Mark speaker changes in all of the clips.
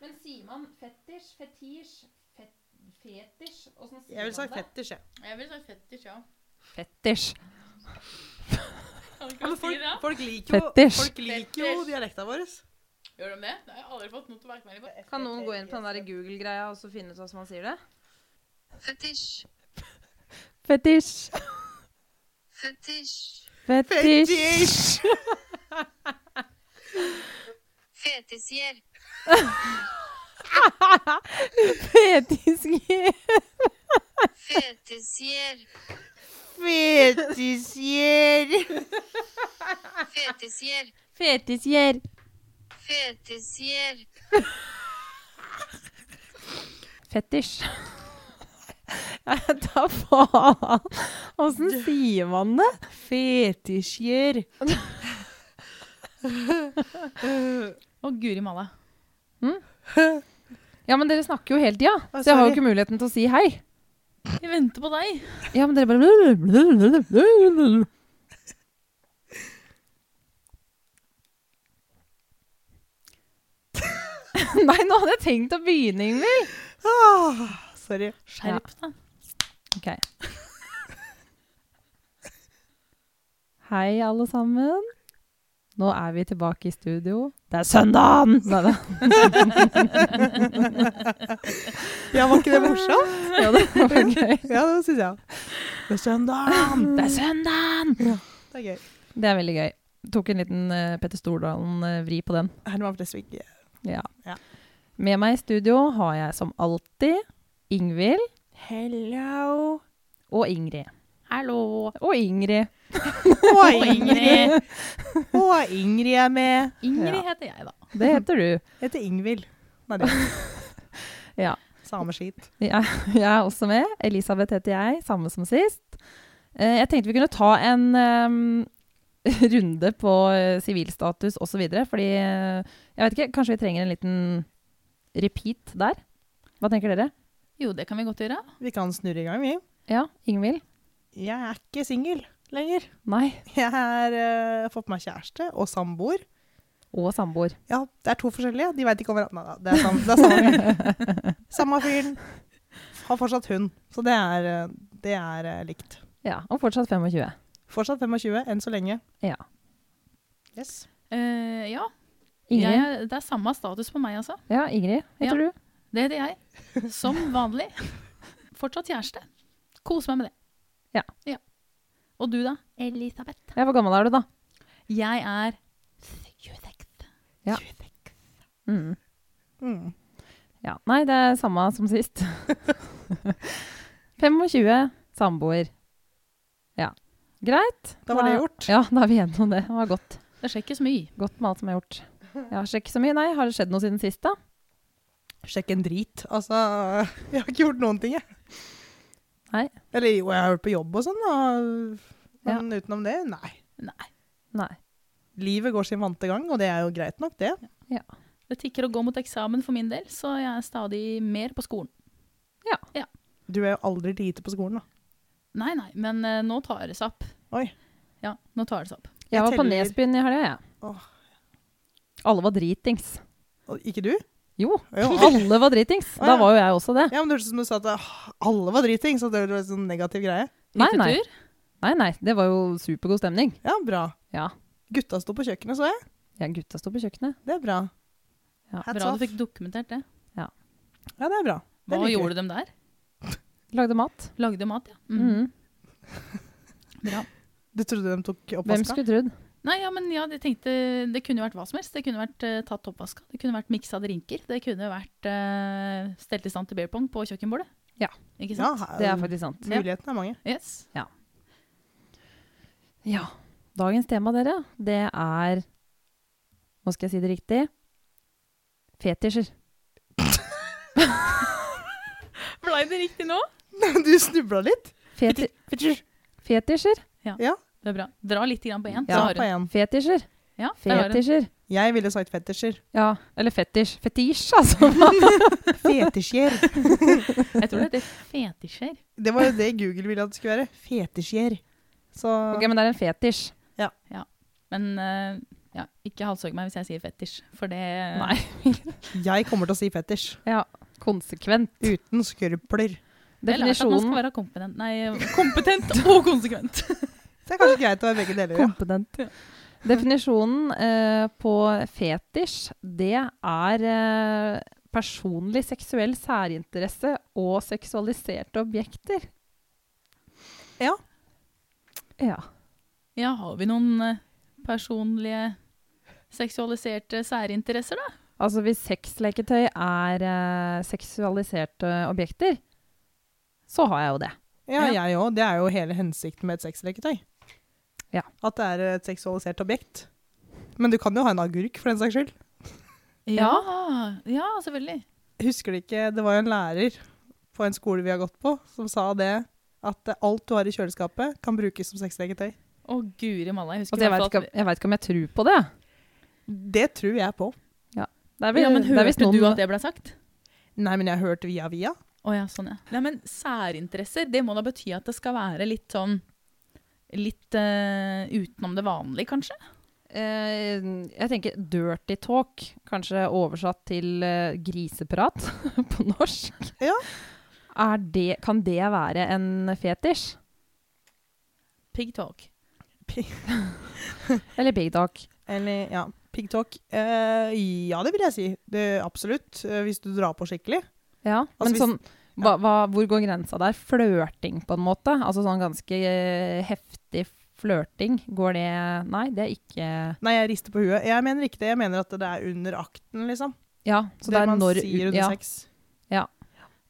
Speaker 1: Men sier man fetisj, fetisj, fet, fetisj? Åssen sier
Speaker 2: Jeg ville sagt
Speaker 1: man det?
Speaker 2: fetisj, jeg.
Speaker 3: Jeg ville sagt fetisj, ja.
Speaker 1: Fetisj.
Speaker 3: Kan
Speaker 2: Ja,
Speaker 3: du ikke
Speaker 2: men
Speaker 3: si
Speaker 2: folk,
Speaker 3: det?
Speaker 2: folk liker jo,
Speaker 1: Fetisj.
Speaker 2: folk liker jo
Speaker 3: Fetisj.
Speaker 2: dialekta vår.
Speaker 3: Gjør de det? Det har jeg aldri fått noe tilbakemelding på.
Speaker 1: Kan noen gå inn på den der Google-greia og så finne ut hva som man sier det?
Speaker 4: Fetisj.
Speaker 1: Fetisj.
Speaker 4: Fetisj.
Speaker 2: Fetisj!
Speaker 4: Fetishjel.
Speaker 1: Fetisj.
Speaker 4: Fetishjel.
Speaker 2: Fetisjer!
Speaker 4: Fetishjel.
Speaker 1: Fetisjer.
Speaker 4: Fetishjel.
Speaker 1: Fetisj. Jeg tar faen. Åssen sier man det?
Speaker 2: Fetisjer.
Speaker 3: Å, guri malla.
Speaker 1: Ja, men dere snakker jo hele tida,
Speaker 2: Å,
Speaker 1: så jeg har jo
Speaker 2: sorry.
Speaker 1: ikke muligheten til å si hei.
Speaker 3: Jeg venter på deg.
Speaker 1: Ja, men dere bare Nei, nå hadde jeg tenkt å begynne, Ingvild.
Speaker 2: Ah, sorry.
Speaker 3: Skjerp deg.
Speaker 1: Ok. Hei, alle sammen. Nå er vi tilbake i studio. Det er søndagen! Nei da.
Speaker 2: Ja, var ikke det morsomt?
Speaker 1: Ja, det var gøy.
Speaker 2: Ja, det syns jeg. Det er søndagen!
Speaker 1: Det er søndagen!
Speaker 2: Det er gøy.
Speaker 1: Det er veldig gøy. Tok en liten eh, Petter Stordalen-vri på den.
Speaker 2: Herman Flesvig. eh,
Speaker 1: Ja.
Speaker 2: Ja.
Speaker 1: Med meg i studio har jeg som alltid Ingvild
Speaker 2: Hello.
Speaker 1: og Ingrid.
Speaker 3: Hallo.
Speaker 1: Og Ingrid.
Speaker 2: Og Ingrid.
Speaker 3: Ingrid.
Speaker 2: Og Ingrid er med.
Speaker 3: Ingrid
Speaker 1: Ja.
Speaker 3: heter jeg, da.
Speaker 1: Det heter du.
Speaker 2: Jeg heter Ingvild. Nei, det
Speaker 1: Ja.
Speaker 2: Sameskit.
Speaker 1: Jeg, jeg er også med. Elisabeth heter jeg, samme som sist. Eh, Jeg tenkte vi kunne ta en em, runde på eh, sivilstatus osv., fordi eh, Jeg vet ikke, kanskje vi trenger en liten repeat der? Hva tenker dere?
Speaker 3: Jo, det kan vi godt gjøre.
Speaker 2: Vi kan snurre i gang, vi.
Speaker 1: Ja, Ingvild?
Speaker 2: Jeg er ikke singel lenger.
Speaker 1: Nei.
Speaker 2: Jeg har eh, fått meg kjæreste og samboer.
Speaker 1: Og samboer.
Speaker 2: Ja, det er to forskjellige. De veit ikke om hverandre. Nei da, det er samme, det er samme, fyren. samme fyren. Har fortsatt hund. Så det er, eh, det er eh, likt.
Speaker 1: Ja, Og fortsatt 25.
Speaker 2: Fortsatt 25 enn så lenge.
Speaker 1: Ja.
Speaker 2: Yes.
Speaker 3: Eh, ja,
Speaker 1: Ingrid?
Speaker 3: jeg, det er samme status på meg, altså.
Speaker 1: Ja, Ingrid heter du.
Speaker 3: Det heter jeg. Som vanlig. Fortsatt kjæreste. Kos meg med det.
Speaker 1: Ja.
Speaker 3: Og du, da? Elisabeth.
Speaker 1: Ja, Hvor gammel er du, da?
Speaker 3: Jeg er 26.
Speaker 1: Ja. Mm.
Speaker 2: Mm.
Speaker 1: Ja. Nei, det er samme som sist. 25, samboer. Ja. Greit.
Speaker 2: Da var det gjort.
Speaker 1: Ja, da er vi gjennom det. Det var godt.
Speaker 3: Det skjer ikke så mye.
Speaker 1: Godt med alt som er gjort. Ja, sjekk så mye. Nei, har det skjedd noe siden sist, da?
Speaker 2: Sjekk en drit. Altså, jeg har ikke gjort noen ting, jeg.
Speaker 1: Nei.
Speaker 2: Eller jo, jeg har vært på jobb og sånn, da. Men utenom det, nei.
Speaker 3: Nei.
Speaker 1: Nei.
Speaker 2: Livet går sin vante gang, og det er jo greit nok, det.
Speaker 3: Det tikker å gå mot eksamen for min del, så jeg er stadig mer på skolen.
Speaker 2: Du er jo aldri lite på skolen, da.
Speaker 3: Nei, nei, men eh, nå tar det seg opp.
Speaker 2: Oi.
Speaker 3: Ja, nå tar det seg opp.
Speaker 1: Jeg var på
Speaker 2: teller.
Speaker 1: Nesbyen i helga, jeg.
Speaker 2: Åh.
Speaker 1: Alle var dritings.
Speaker 2: Og Ikke du?
Speaker 1: Jo,
Speaker 2: Jo.
Speaker 1: alle var dritings.
Speaker 2: Å, ja.
Speaker 1: Da var jo jeg også det.
Speaker 2: Ja, men det hørtes ut som du sa at «Åh, alle var driting, så det var en sånn negativ greie.
Speaker 1: Nei, nei.
Speaker 3: Hyttetur?
Speaker 1: Nei, nei. Det var jo supergod stemning.
Speaker 2: Ja, bra.
Speaker 1: Ja.
Speaker 2: Gutta sto på kjøkkenet, så jeg.
Speaker 1: ja gutta sto på kjøkkenet.
Speaker 2: Det er bra.
Speaker 1: Ja.
Speaker 2: Hats
Speaker 3: Bra
Speaker 2: off.
Speaker 3: du fikk dokumentert det.
Speaker 2: Ja, det er bra. Det
Speaker 3: Hva
Speaker 2: liker vi.
Speaker 3: gjorde de der?
Speaker 1: Lagde mat.
Speaker 3: Lagde mat, ja. Mm.
Speaker 1: Mm.
Speaker 3: Bra.
Speaker 2: Du trodde de tok
Speaker 1: Hvem
Speaker 2: oppvaska?
Speaker 1: skulle trodd?
Speaker 3: Nei, ja, men ja, jeg tenkte det kunne vært hva som helst. Det kunne vært eh, tatt oppvaska, det kunne vært miksa drinker, det kunne vært eh, stelt i stand til beer pong på kjøkkenbordet.
Speaker 1: Ja.
Speaker 3: Ikke
Speaker 2: Ja,
Speaker 3: sant?
Speaker 2: her-
Speaker 1: Det er faktisk sant.
Speaker 2: Mulighetene er mange.
Speaker 3: Yes.
Speaker 1: Ja. Dagens tema, dere, det er Nå skal jeg si det riktig. Fetisjer.
Speaker 3: Blei det riktig nå?
Speaker 2: Du snubla litt.
Speaker 1: Feti fetisjer.
Speaker 3: Det er bra. Dra litt grann på én,
Speaker 1: Ja,
Speaker 3: så
Speaker 2: Ta
Speaker 3: har
Speaker 2: på
Speaker 3: hun.
Speaker 2: en.
Speaker 1: Fetisjer.
Speaker 3: Ja, der har hun.
Speaker 1: Fetisjer.
Speaker 2: Jeg ville sagt fetisjer.
Speaker 1: Ja, eller fetisj. Fetisj, altså.
Speaker 2: Fetisjer.
Speaker 3: Jeg tror det heter fetisjer.
Speaker 2: Det var jo det Google ville at det skulle være. Fetisjer. Så
Speaker 1: Ok, Men det er en fetisj.
Speaker 3: Men eh, Ja, ikke halshøg meg hvis jeg sier fetisj, for det
Speaker 1: Nei.
Speaker 2: Jeg kommer til å si fetisj.
Speaker 1: Konsekvent.
Speaker 2: Uten skrupler.
Speaker 3: Jeg har lært at man skal
Speaker 1: Definisjonen
Speaker 3: være kompetent, nei, kompetent og konsekvent.
Speaker 2: Så det er kanskje greit å være begge deler. Ja.
Speaker 1: Kompetent. Definisjonen eh, på fetisj, det er eh, personlig seksuell særinteresse og seksualiserte objekter.
Speaker 2: Ja.
Speaker 1: Ja.
Speaker 3: Ja, har vi noen eh, personlige seksualiserte særinteresser, da?
Speaker 1: Altså hvis sexleketøy er eh, seksualiserte objekter, så har jeg jo det.
Speaker 2: Ja, jeg òg. Det er jo hele hensikten med et sexleketøy.
Speaker 1: Ja.
Speaker 2: At det er et seksualisert objekt. Men du kan jo ha en agurk, for den saks skyld.
Speaker 3: Ja, ja selvfølgelig.
Speaker 2: Husker du ikke Det var jo en lærer på en skole vi har gått på, som sa det at alt du har i kjøleskapet, kan brukes som sexleketøy.
Speaker 3: Å, guri malla. Jeg
Speaker 1: Altså,
Speaker 3: husker i
Speaker 1: jeg veit
Speaker 3: hvert fall
Speaker 1: ikke,
Speaker 3: at-
Speaker 1: om- jeg vet ikke om jeg tror på det.
Speaker 2: Det tror jeg på.
Speaker 1: det er vel-
Speaker 3: ja, men
Speaker 1: det er visst
Speaker 3: Hørte du
Speaker 1: noen-
Speaker 3: at det ble sagt?
Speaker 2: Nei, men jeg har hørt via via.
Speaker 3: Å ja, sånn ja. Nei, men særinteresser, det må da bety at det skal være litt sånn Litt eh, utenom det vanlige, kanskje?
Speaker 1: Eh, jeg tenker dirty talk, kanskje oversatt til eh, griseprat på norsk.
Speaker 2: Ja.
Speaker 1: Er det, kan det være en fetisj?
Speaker 3: Pig talk.
Speaker 1: Eller big talk?
Speaker 2: Eller ja, pigtalk. Eh, ja, det vil jeg si. Det, absolutt. Eh, hvis du drar på skikkelig.
Speaker 1: Ja,
Speaker 2: Altså,
Speaker 1: men
Speaker 2: hvis-
Speaker 1: sånn, hva, hva, hvor går grensa der? Flørting, på en måte? Altså sånn ganske eh, heftig flørting, går det Nei, det er ikke
Speaker 2: Nei, jeg rister på huet. Jeg mener ikke det. Jeg mener at det er under akten, liksom.
Speaker 1: Ja, så det, er
Speaker 2: man
Speaker 1: når
Speaker 2: sier under
Speaker 1: ja,
Speaker 2: sex.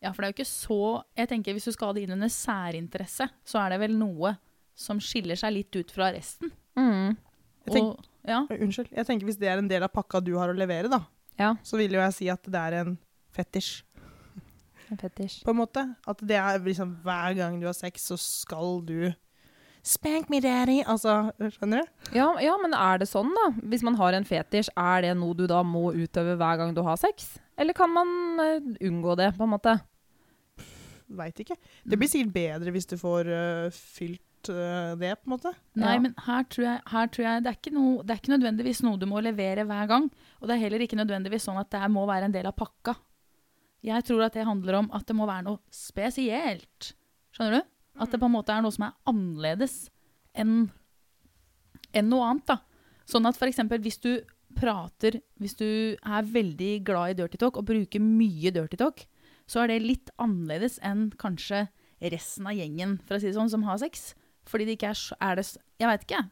Speaker 3: Ja, for det er jo ikke så Jeg tenker Hvis du skal ha det inn under særinteresse, så er det vel noe som skiller seg litt ut fra resten.
Speaker 1: mm,
Speaker 2: Jeg tenk-
Speaker 3: og, ja,
Speaker 2: Oi, Unnskyld. Jeg tenker hvis det er en del av pakka du har å levere, da,
Speaker 1: Ja.
Speaker 2: så vil jo jeg si at det er en fetisj,
Speaker 1: en fetisj.
Speaker 2: på en måte. At det er liksom hver gang du har sex, så skal du Spank me daddy. Altså, skjønner du?
Speaker 1: Ja, ja, men er det sånn, da? Hvis man har en fetisj, er det noe du da må utøve hver gang du har sex? Eller kan man eh, unngå det, på en måte?
Speaker 2: Veit ikke. Det blir sikkert bedre hvis du får øh, fylt øh, det, på en måte.
Speaker 3: Nei,
Speaker 1: Ja.
Speaker 3: men her tror jeg, her tror jeg det, er ikke noe, det er ikke nødvendigvis noe du må levere hver gang. Og det er heller ikke nødvendigvis sånn at det her må være en del av pakka. Jeg tror at det handler om at det må være noe spesielt. Skjønner du? At det på en måte er noe som er annerledes enn enn noe annet. da. Sånn at f.eks. hvis du prater Hvis du er veldig glad i dirty talk og bruker mye dirty talk, så er det litt annerledes enn kanskje resten av gjengen for å si det sånn, som har sex. Fordi det ikke er, så- er det, s- Jeg veit ikke. jeg.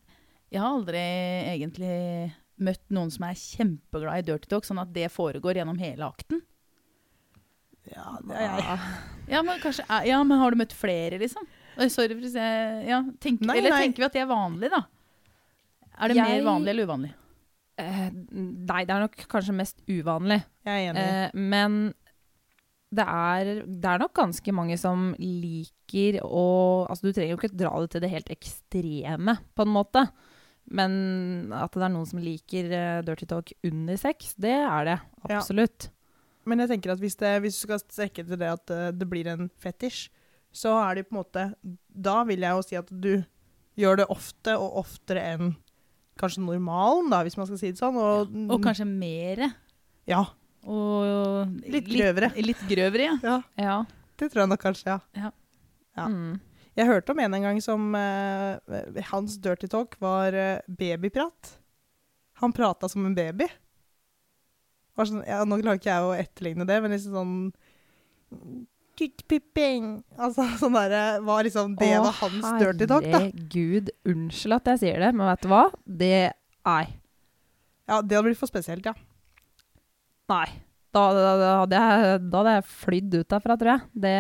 Speaker 3: Jeg har aldri egentlig møtt noen som er kjempeglad i dirty talk, sånn at det foregår gjennom hele akten.
Speaker 2: Ja, det er jeg.
Speaker 3: Ja, men, kanskje, er- ja, men har du møtt flere, liksom? Oi, sorry hvis jeg ja, tenker,
Speaker 2: Nei,
Speaker 3: Eller
Speaker 2: nei.
Speaker 3: tenker vi at det er vanlig, da? Er det
Speaker 1: Jeg-
Speaker 3: mer vanlig eller uvanlig?
Speaker 1: Eh, nei, det er nok kanskje mest uvanlig.
Speaker 2: Jeg er enig.
Speaker 1: Eh, men det er, det er nok ganske mange som liker å Altså, du trenger jo ikke dra det til det helt ekstreme, på en måte. Men at det er noen som liker eh, dirty talk under sex, det er det
Speaker 2: Ja.
Speaker 1: absolutt.
Speaker 2: Men jeg tenker at hvis, det, hvis du skal strekke til det at eh, det blir en fetisj, så er det på en måte Da vil jeg jo si at du gjør det ofte, og oftere enn kanskje normalen, da, hvis man skal si det sånn. Og,
Speaker 3: Og kanskje mere?
Speaker 2: Ja.
Speaker 3: Og
Speaker 2: Litt grøvere.
Speaker 3: Litt, grøvere, ja.
Speaker 2: ja.
Speaker 1: Ja.
Speaker 2: Det tror jeg nok kanskje, ja. Ja.
Speaker 1: Mm.
Speaker 2: Jeg hørte om en en gang som eh, Hans dirty talk var eh, babyprat. Han prata som en baby. Var sånn, ja, nå klarer ikke jeg å etterligne det, men liksom sånn Kuttpupping. Altså sånn derre var liksom Det
Speaker 1: Å,
Speaker 2: var hans dirty talk, da.
Speaker 1: Herregud, unnskyld at jeg sier det, men vet du hva? Det Nei.
Speaker 2: Ja, Det hadde blitt for spesielt, ja.
Speaker 1: Nei. Da, da, da, hadde jeg, da hadde jeg flydd ut derfra, tror jeg. Det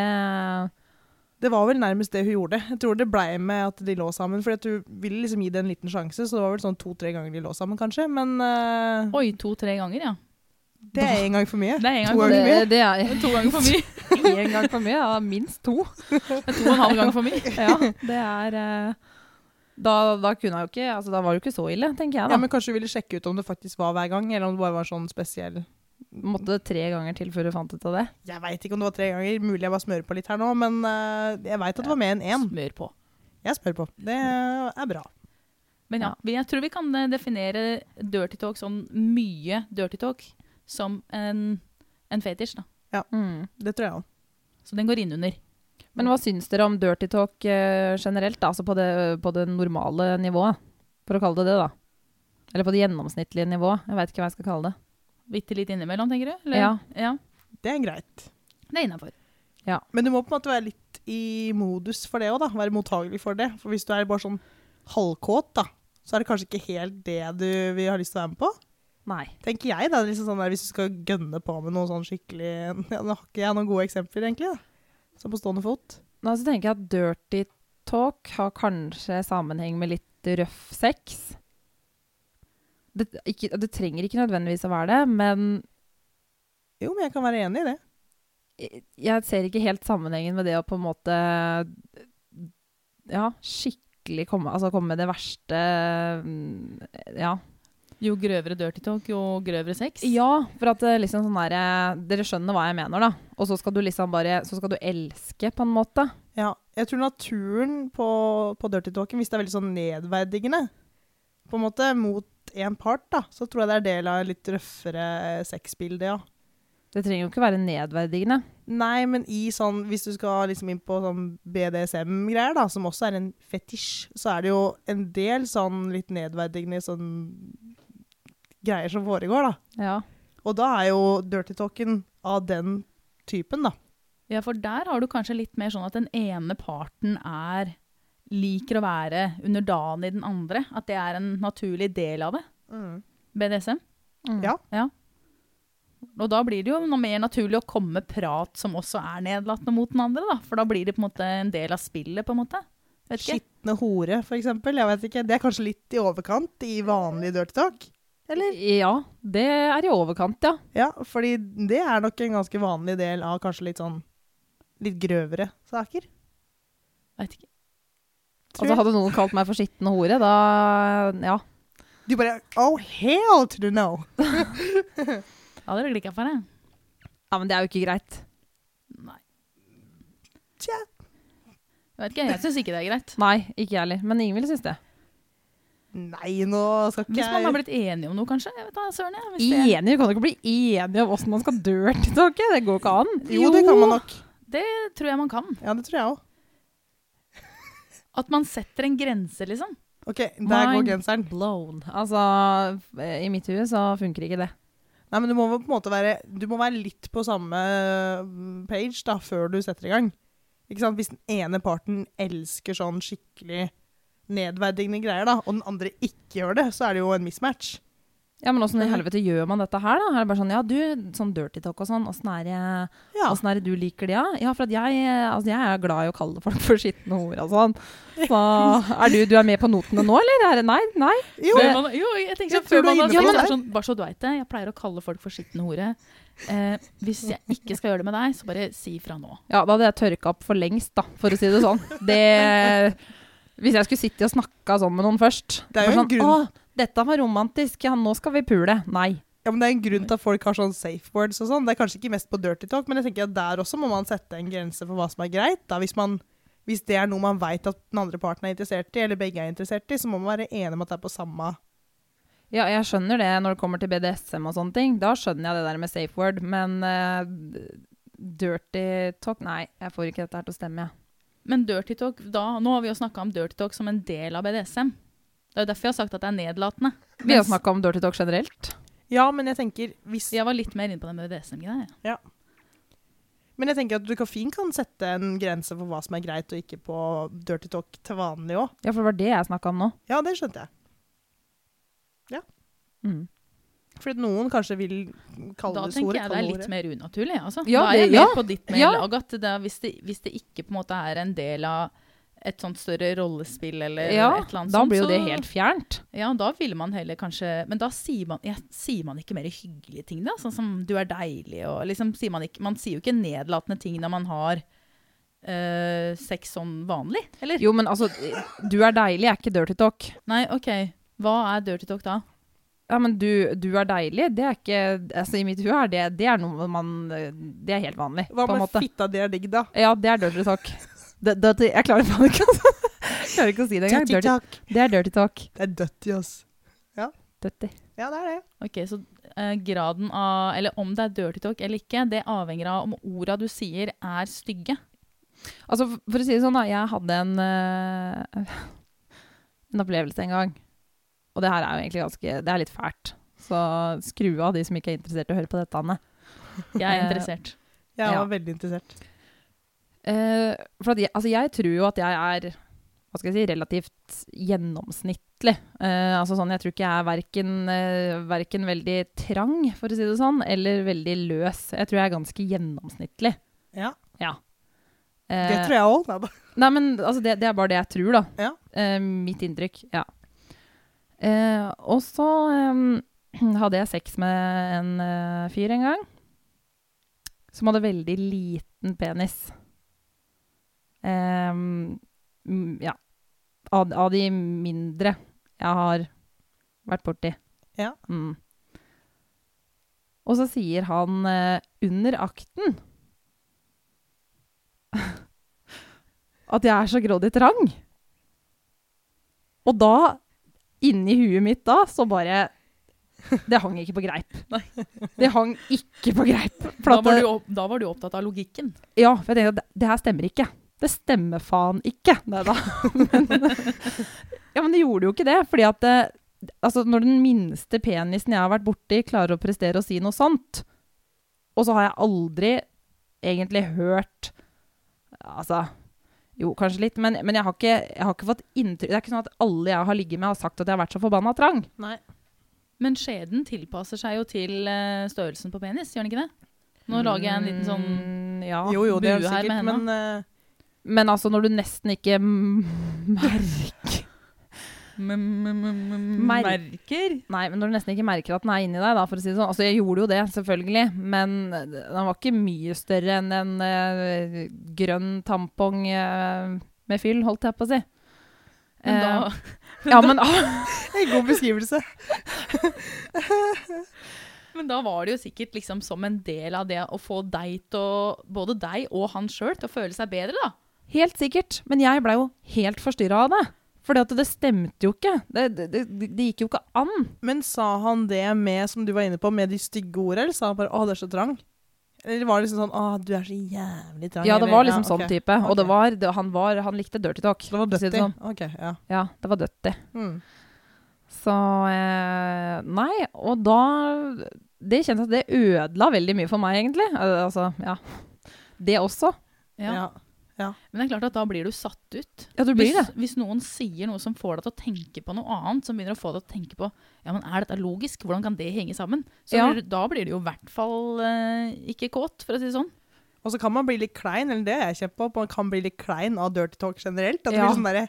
Speaker 2: Det var vel nærmest det hun gjorde. Jeg tror det blei med at de lå sammen. For hun ville liksom gi det en liten sjanse, så det var vel sånn to-tre ganger de lå sammen, kanskje. Men eh,
Speaker 3: Oi, to-tre ganger, ja.
Speaker 2: det er én gang for mye.
Speaker 3: Det er en gang
Speaker 2: To
Speaker 3: for
Speaker 2: ganger
Speaker 1: det,
Speaker 3: mye.
Speaker 2: mye.
Speaker 1: det er
Speaker 3: To ganger for mye.
Speaker 1: én gang for mye. Ja, minst to.
Speaker 3: Det er To og en halv gang for mye.
Speaker 1: Ja, det er eh, da, da kunne jeg jo ikke altså, Da var det jo ikke så ille, tenker jeg.
Speaker 2: Ja,
Speaker 1: da.
Speaker 2: men Kanskje du ville sjekke ut om det faktisk var hver gang, eller om det bare var sånn spesiell
Speaker 1: Måtte det tre ganger til før du fant ut av det.
Speaker 2: Jeg veit ikke om det var tre ganger, mulig jeg bare smører på litt her nå, men eh, jeg veit at det var mer enn én.
Speaker 3: Smør på.
Speaker 2: Jeg spør på. Det er bra.
Speaker 3: Men ja, vi- jeg tror vi kan eh, definere dirty talk, sånn mye dirty talk, som en, en fetisj. da.
Speaker 1: Mm.
Speaker 2: Det tror jeg òg.
Speaker 3: Så den går innunder.
Speaker 1: Men hva syns dere om dirty talk eh, generelt, da? altså på det, på det normale nivået, for å kalle det det, da? Eller på det gjennomsnittlige nivået, jeg veit ikke hva jeg skal kalle det.
Speaker 3: Bitte litt innimellom, tenker du?
Speaker 1: Ja.
Speaker 3: ja.
Speaker 2: Det er greit.
Speaker 3: Det er innafor.
Speaker 2: Men du må på en måte være litt i modus for det òg, da. Være mottagelig for det. For hvis du er bare sånn halvkåt, da, så er det kanskje ikke helt det du vil ha lyst til å være med på.
Speaker 1: Nei.
Speaker 2: Tenker jeg, da. Liksom sånn der, hvis du skal gønne på med noe sånn skikkelig ja, Nå har ikke jeg noen gode eksempler, egentlig. da. Sånn på stående fot.
Speaker 1: Nei, så tenker jeg at dirty talk har kanskje sammenheng med litt røff sex. Det, ikke, det trenger ikke nødvendigvis å være det, men
Speaker 2: Jo, men jeg kan være enig i det.
Speaker 1: jeg- jeg ser ikke helt sammenhengen med det å på en måte Ja, skikkelig komme, altså komme med det verste mm, Ja.
Speaker 3: Jo grøvere dirty talk, jo grøvere sex.
Speaker 1: Ja, for at det liksom sånn derre Dere skjønner hva jeg mener, da. Og så skal du liksom bare Så skal du elske, på en måte.
Speaker 2: Ja, jeg tror naturen på, på Dirty Talken, hvis det er veldig sånn nedverdigende, på en måte mot en part, da, så tror jeg det er del av et litt røffere sexbilde, ja.
Speaker 1: Det trenger jo ikke være nedverdigende.
Speaker 2: Nei, men i sånn, hvis du skal liksom inn på sånn BDSM-greier, da, som også er en fetisj, så er det jo en del sånn litt nedverdigende sånn greier som foregår, da.
Speaker 1: Ja.
Speaker 2: Og da er jo Dirty Talken av den typen, da.
Speaker 3: Ja, for der har du kanskje litt mer sånn at den ene parten er liker å være underdanig den andre. At det er en naturlig del av det. BDSM.
Speaker 1: Mm.
Speaker 2: Ja.
Speaker 3: Og da blir det jo noe mer naturlig å komme med prat som også er nedlatende mot den andre, da. For da blir det på en måte en del av spillet, på en måte. Vet ikke.
Speaker 2: Skitne hore, for eksempel. Jeg vet ikke. Det er kanskje litt i overkant i vanlig dirty talk. Eller?
Speaker 1: Ja, det er i overkant, ja.
Speaker 2: Ja, fordi det er nok en ganske vanlig del av kanskje litt sånn litt grøvere saker.
Speaker 3: Vet ikke.
Speaker 1: Altså, hadde noen kalt meg for skitten hore, da Ja.
Speaker 2: Du bare Oh, hell to the no!
Speaker 3: Ja, dere klikka for det.
Speaker 1: ja men det er jo ikke greit.
Speaker 3: Nei.
Speaker 2: Tja.
Speaker 3: Jeg vet ikke, jeg syns ikke det er greit.
Speaker 1: Nei, ikke jeg heller. Men Ingvild syns det.
Speaker 2: Nei, nå skal ikke
Speaker 3: Hvis man
Speaker 2: jeg
Speaker 3: har blitt enige om noe, kanskje. Jeg vet da, søren, jeg. Hvis det,
Speaker 1: Enig, Du kan ikke bli enig om åssen man skal dirty talke. Det går ikke an.
Speaker 2: Jo, det kan man nok.
Speaker 3: det tror jeg man kan.
Speaker 2: Ja, det tror jeg òg.
Speaker 3: At man setter en grense, liksom.
Speaker 2: OK, der
Speaker 1: Mine.
Speaker 2: går genseren.
Speaker 1: Blown. Altså, eh, i mitt hue så funker ikke det.
Speaker 2: Nei, men du må vel på en måte være Du må være litt på samme mm, page da, før du setter i gang. Ikke sant? Hvis den ene parten elsker sånn skikkelig nedverdigende greier, da, og den andre ikke gjør det, så er det jo en mismatch.
Speaker 1: Ja, men åssen i helvete gjør man dette her, da? Er det bare sånn ja, du, sånn dirty talk og sånn, åssen er, det-
Speaker 2: Ja,
Speaker 1: åssen er det du liker det, ja? Ja, for at jeg, eh, altså, jeg er glad i å kalle folk for skitne ord og sånn. Så er du, du er med på notene nå, eller? Er det, nei, nei.
Speaker 2: jo,
Speaker 1: det-
Speaker 3: Før man, jo, jeg tenker
Speaker 2: Jeg tror
Speaker 3: sånn, før
Speaker 2: du er
Speaker 3: man har
Speaker 2: inne på
Speaker 3: sagt
Speaker 2: noe
Speaker 3: sånn, Bare så du veit det, jeg pleier å kalle folk for skitten hore. Eh, hvis jeg ikke skal gjøre det med deg, så bare si fra nå.
Speaker 1: Ja, da hadde jeg tørka opp for lengst, da, for å si det sånn. Det, hvis jeg skulle sitte og snakka sånn med noen først
Speaker 2: Det er jo
Speaker 1: bare
Speaker 2: en
Speaker 1: sånn,
Speaker 2: grunn.
Speaker 1: Å, dette var romantisk, ja, nå skal vi pule. Nei.
Speaker 2: ja, men det er en grunn til at folk har sånn safe words og sånn. Det er kanskje ikke mest på dirty talk, men jeg tenker at der også må man sette en grense for hva som er greit. da, Hvis, man, hvis det er noe man veit at den andre parten er interessert i, eller begge er interessert i, så må man være enig om at det er på samme
Speaker 1: Ja, jeg skjønner det når det kommer til BDSM og sånne ting. Da skjønner jeg det der med safe word, men eh, dirty talk Nei, jeg får ikke dette her til å stemme, jeg.
Speaker 3: Men dirty talk, da, nå har vi jo snakka om dirty talk som en del av BDSM. Det er jo derfor jeg har sagt at det er nedlatende.
Speaker 1: Vi har
Speaker 3: Mens
Speaker 1: snakka om dirty talk generelt.
Speaker 2: Ja, men jeg tenker hvis
Speaker 3: jeg var litt mer inne på den BDSM-greia. jeg.
Speaker 2: Men jeg tenker at du kan fint kan sette en grense for hva som er greit og ikke på dirty talk til vanlig òg.
Speaker 1: Ja, for det var det jeg snakka om nå.
Speaker 2: Ja, det skjønte jeg.
Speaker 1: Mm.
Speaker 2: Fordi noen kanskje vil kalle
Speaker 3: Da
Speaker 2: det
Speaker 3: tenker
Speaker 2: sore.
Speaker 3: jeg det er litt mer unaturlig. jeg, Altså.
Speaker 1: Ja,
Speaker 3: da er jeg
Speaker 1: det-
Speaker 3: mer
Speaker 1: ja.
Speaker 3: på ditt mer
Speaker 1: Ja.
Speaker 3: lag at det er, hvis, det, hvis det ikke på en måte er en del av et sånt større rollespill eller
Speaker 1: Ja,
Speaker 3: et eller annet
Speaker 1: da
Speaker 3: sånt,
Speaker 1: blir jo det
Speaker 3: Sånn så-
Speaker 1: helt fjernt.
Speaker 3: Ja, da ville man heller kanskje Men da sier man, ja, sier man ikke mer hyggelige ting, da? Sånn som 'du er deilig' og liksom sier man ikke Man sier jo ikke nedlatende ting når man har eh, sex sånn vanlig, eller?
Speaker 1: Jo, men altså, du er deilig er ikke dirty talk.
Speaker 3: Nei, OK. Hva er dirty talk da?
Speaker 1: Ja, men du, du er deilig, det er ikke Altså, i mitt hue er det Det er noe man Det er helt vanlig,
Speaker 2: Hva
Speaker 1: på en
Speaker 2: med
Speaker 1: måte.
Speaker 2: fitta di er digg, da?
Speaker 1: Ja, det er dirty talk. D dirty Jeg klarer faen ikke, altså. Klarer ikke å si det engang. Dirty,
Speaker 2: Tittitak.
Speaker 1: det er dirty talk.
Speaker 2: Det er dødt i oss.
Speaker 1: Dirty.
Speaker 2: Ja, det er det.
Speaker 3: Ok, så eh, graden av, eller om det er dirty talk eller ikke, det avhenger av om orda du sier er stygge.
Speaker 1: Altså, for- for å si det sånn, da. Jeg hadde en, eh, en opplevelse en gang. Og det her er jo egentlig ganske Det er litt fælt. Så skru av de som ikke er interessert i å høre på dette, Anne.
Speaker 3: Jeg er
Speaker 1: Eh,
Speaker 3: interessert.
Speaker 2: Jeg
Speaker 1: Ja.
Speaker 2: var veldig interessert.
Speaker 1: Eh, for at jeg, altså, jeg tror jo at jeg er hva skal jeg si, relativt gjennomsnittlig. Eh, altså sånn, Jeg tror ikke jeg er verken, eh, verken veldig trang, for å si det sånn, eller veldig løs. Jeg tror jeg er ganske gjennomsnittlig.
Speaker 2: Ja,
Speaker 1: Eh,
Speaker 2: det tror jeg òg.
Speaker 1: Nei, men altså, det, det er bare det jeg tror, da.
Speaker 2: Ja.
Speaker 1: Eh, mitt inntrykk. Ja. Eh, og så eh, hadde jeg sex med en eh, fyr en gang som hadde veldig liten penis. Eh, mm, ja. Av, av de mindre jeg har vært borti.
Speaker 2: Ja.
Speaker 1: Mm. Og så sier han eh, under akten at jeg er så grådig trang. Og da, inni huet mitt da, så bare Det hang ikke på greip. Det hang ikke på greip. For
Speaker 3: Da
Speaker 1: at
Speaker 3: var,
Speaker 1: det-
Speaker 3: du, opp- da var du opptatt av logikken.
Speaker 1: ja, for jeg tenkte at det- det her stemmer ikke. Det stemmer faen ikke. Nei da. Men, ja, men det gjorde jo ikke det. Fordi at det, altså, når den minste penisen jeg har vært borti, klarer å prestere å si noe sånt, og så har jeg aldri egentlig hørt Altså jo, kanskje litt, men, men jeg, har ikke, jeg har ikke fått inntrykk Det er ikke sånn at alle jeg har ligget med, har sagt at jeg har vært så forbanna trang.
Speaker 3: Men skjeden tilpasser seg jo til eh, størrelsen på penis, gjør den ikke det? Nå lager jeg en liten sånn
Speaker 1: Mm, ja.
Speaker 2: Jo, jo, det er
Speaker 3: bue her
Speaker 2: sikkert,
Speaker 3: med henda.
Speaker 2: men eh,
Speaker 1: Men altså, når du nesten ikke mm, merker
Speaker 3: Mm. Merker?
Speaker 1: Nei, men når du nesten ikke merker at den er inni deg, da, for å si det sånn. Altså, jeg gjorde jo det, selvfølgelig, men den var ikke mye større enn en eh, grønn tampong eh, med fyll, holdt jeg på å si.
Speaker 3: Men da,
Speaker 1: Eh, ja, men
Speaker 2: en god beskrivelse.
Speaker 3: men da var det jo sikkert liksom som en del av det å få deg til å Både deg og han sjøl til å føle seg bedre, da.
Speaker 1: Helt sikkert, men jeg blei jo helt forstyrra av det. Fordi at det stemte jo ikke. Det, det, det, det gikk jo ikke an.
Speaker 2: Men sa han det med, som du var inne på, med de stygge ordene, eller sa han bare 'å, det er så trang'? Eller var det liksom sånn 'å, du er så jævlig trang'?
Speaker 1: Ja, det
Speaker 2: eller-
Speaker 1: var liksom sånn
Speaker 2: ok.
Speaker 1: type. Og det
Speaker 2: Ok.
Speaker 1: var, det, han, var, han likte dirty talk.
Speaker 2: Så det var
Speaker 1: for å si
Speaker 2: dødt
Speaker 1: det
Speaker 2: i?
Speaker 1: sånn.
Speaker 2: Ok, ja.
Speaker 1: Ja, det var dødt i.
Speaker 2: Mm.
Speaker 1: Så eh, Nei, og da Det kjentes at det ødela veldig mye for meg, egentlig. Eh, Altså, ja. Det også.
Speaker 2: Ja.
Speaker 3: Ja. Men det er klart at da blir du satt ut.
Speaker 1: Ja, du blir det.
Speaker 3: Hvis, hvis noen sier noe som får deg til å tenke på noe annet, som begynner å få deg til å tenke på ja, men er dette logisk, hvordan kan det henge sammen? Så
Speaker 1: Ja.
Speaker 3: blir du- da blir du jo i hvert fall eh, ikke kåt, for å si det sånn.
Speaker 2: Og så kan man bli litt klein, eller det har jeg kjent på, at man kan bli litt klein av dirty talk generelt. At det
Speaker 1: Ja.
Speaker 2: blir sånn derre